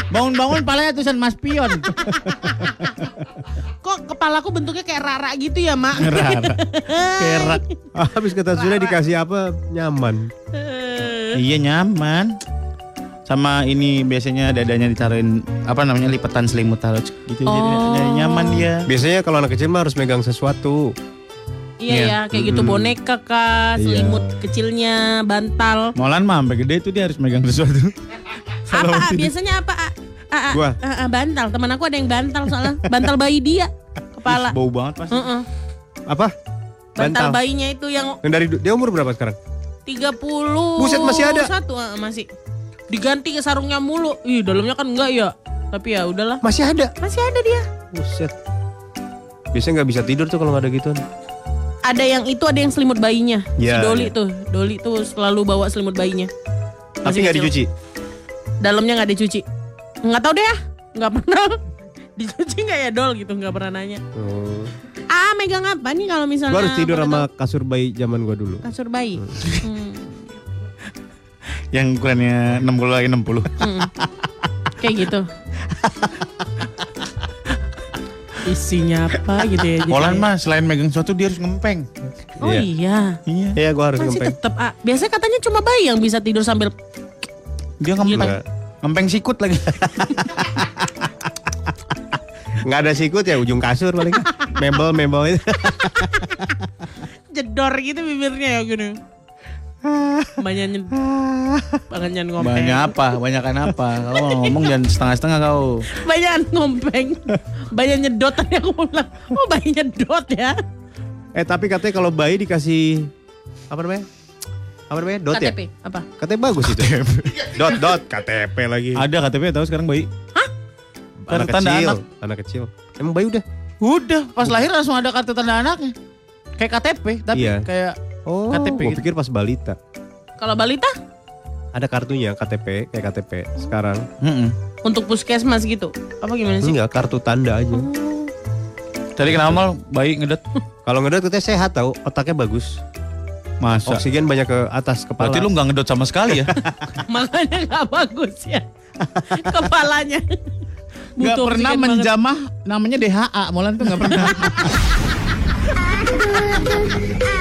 [SPEAKER 3] Bangun-bangun palanya tulisan Mas Pion.
[SPEAKER 2] Kok kepalaku bentuknya kayak rara gitu ya, Mak?
[SPEAKER 3] Rara. Kerak.
[SPEAKER 4] Habis kata Zura dikasih apa? Nyaman.
[SPEAKER 3] Iya nyaman. Sama ini biasanya dadanya ditaruhin apa namanya lipetan selimut taruh cek, gitu jadi
[SPEAKER 2] Oh.
[SPEAKER 3] nyaman dia.
[SPEAKER 4] Biasanya kalau anak kecil mah harus megang sesuatu.
[SPEAKER 2] Iya
[SPEAKER 3] Iya.
[SPEAKER 2] ya, kayak gitu
[SPEAKER 4] Mm-mm.
[SPEAKER 2] boneka kah,
[SPEAKER 4] Iya.
[SPEAKER 2] selimut kecilnya, bantal.
[SPEAKER 3] Molan mah sampai gede tuh dia harus megang sesuatu.
[SPEAKER 2] Apa
[SPEAKER 3] Kalau
[SPEAKER 2] ah,
[SPEAKER 3] tidur.
[SPEAKER 2] biasanya apa? ah? Ah, ah,
[SPEAKER 3] Gua.
[SPEAKER 2] ah, ah, bantal. Teman aku ada yang bantal soalnya bantal bayi dia kepala.
[SPEAKER 4] Bau banget pasti.
[SPEAKER 2] Heeh.
[SPEAKER 4] Apa?
[SPEAKER 2] Bantal
[SPEAKER 4] Bantal.
[SPEAKER 2] bayinya itu yang
[SPEAKER 4] Yang dari dia umur berapa sekarang?
[SPEAKER 2] 30
[SPEAKER 4] Buset, masih ada.
[SPEAKER 2] Satu ah, masih. Diganti ke sarungnya mulu. Ih, dalamnya kan enggak ya. Tapi ya udahlah.
[SPEAKER 4] Masih ada.
[SPEAKER 2] Masih ada dia.
[SPEAKER 4] Buset. Biasanya nggak bisa tidur tuh kalau nggak ada gituan.
[SPEAKER 2] Ada yang itu ada yang selimut bayinya. si
[SPEAKER 4] Iya,
[SPEAKER 2] Doli
[SPEAKER 4] iya.
[SPEAKER 2] tuh. Doli tuh selalu bawa selimut bayinya.
[SPEAKER 4] Tapi
[SPEAKER 2] Masih
[SPEAKER 4] nggak
[SPEAKER 2] kecil.
[SPEAKER 4] dicuci.
[SPEAKER 2] dalamnya nggak dicuci nggak tahu deh ah nggak pernah dicuci nggak ya dol gitu nggak pernah nanya
[SPEAKER 4] Oh.
[SPEAKER 2] ah megang apa nih kalau misalnya
[SPEAKER 4] Gua harus tidur
[SPEAKER 2] pakai
[SPEAKER 4] sama kasur bayi zaman gua dulu.
[SPEAKER 2] kasur bayi Hmm,
[SPEAKER 3] Yang ukurannya 60 lagi 60.
[SPEAKER 2] hmm. kayak gitu isinya apa gitu ya jadi-
[SPEAKER 3] Molan mah selain megang sesuatu dia harus ngempeng.
[SPEAKER 2] oh
[SPEAKER 4] Iya.
[SPEAKER 2] iya
[SPEAKER 3] Iya.
[SPEAKER 4] Iya, gua harus
[SPEAKER 2] masih
[SPEAKER 4] ngempeng.
[SPEAKER 2] tetap ah biasanya katanya cuma bayi yang bisa tidur sambil
[SPEAKER 3] Dia ngempeng.
[SPEAKER 4] Nggak-
[SPEAKER 3] Ngempeng sikut lagi.
[SPEAKER 4] nggak ada sikut ya ujung kasur paling. Mebel-mebel itu.
[SPEAKER 2] jedor gitu bibirnya ya gini Banyakin Banyakin ngomong
[SPEAKER 3] Banyak apa? Banyakan apa? Kalau mau ngomong jangan setengah-setengah kau.
[SPEAKER 2] Banyak ngompeng Banyak nyedot tadi aku mau bilang Oh banyak nyedot ya
[SPEAKER 4] Eh tapi katanya kalau bayi dikasih apa namanya? Apa namanya? Dot
[SPEAKER 2] KTP
[SPEAKER 4] ya?
[SPEAKER 2] apa?
[SPEAKER 4] Katanya bagus itu. dot dot KTP lagi.
[SPEAKER 3] Iya. Ada KTP tahu sekarang bayi?
[SPEAKER 4] Anak
[SPEAKER 3] Kartu tanda
[SPEAKER 4] kecil.
[SPEAKER 3] anak.
[SPEAKER 4] Anak kecil. Emang bayi udah?
[SPEAKER 3] Udah, pas lahir langsung ada kartu tanda anaknya. Kayak KTP, tapi
[SPEAKER 4] Iya.
[SPEAKER 3] kayak
[SPEAKER 4] Oh,
[SPEAKER 3] KTP
[SPEAKER 4] gua
[SPEAKER 3] gitu.
[SPEAKER 4] pikir pas balita.
[SPEAKER 2] Kalau balita
[SPEAKER 4] Ada kartunya KTP kayak KTP sekarang.
[SPEAKER 2] Untuk puskesmas gitu Apa gimana sih?
[SPEAKER 4] Enggak, kartu tanda aja.
[SPEAKER 3] Tadi kenapa mal bayi ngedet?
[SPEAKER 4] Kalau ngedet katanya sehat tau, otaknya bagus.
[SPEAKER 3] Masa?
[SPEAKER 4] Oksigen banyak ke atas kepala.
[SPEAKER 3] Berarti lu nggak ngedot sama sekali ya?
[SPEAKER 2] Makanya gak bagus ya Kepalanya
[SPEAKER 3] Nggak
[SPEAKER 2] Butuh
[SPEAKER 3] pernah
[SPEAKER 2] oksigen banget.
[SPEAKER 3] menjamah namanya DHA, Molan tuh nggak pernah.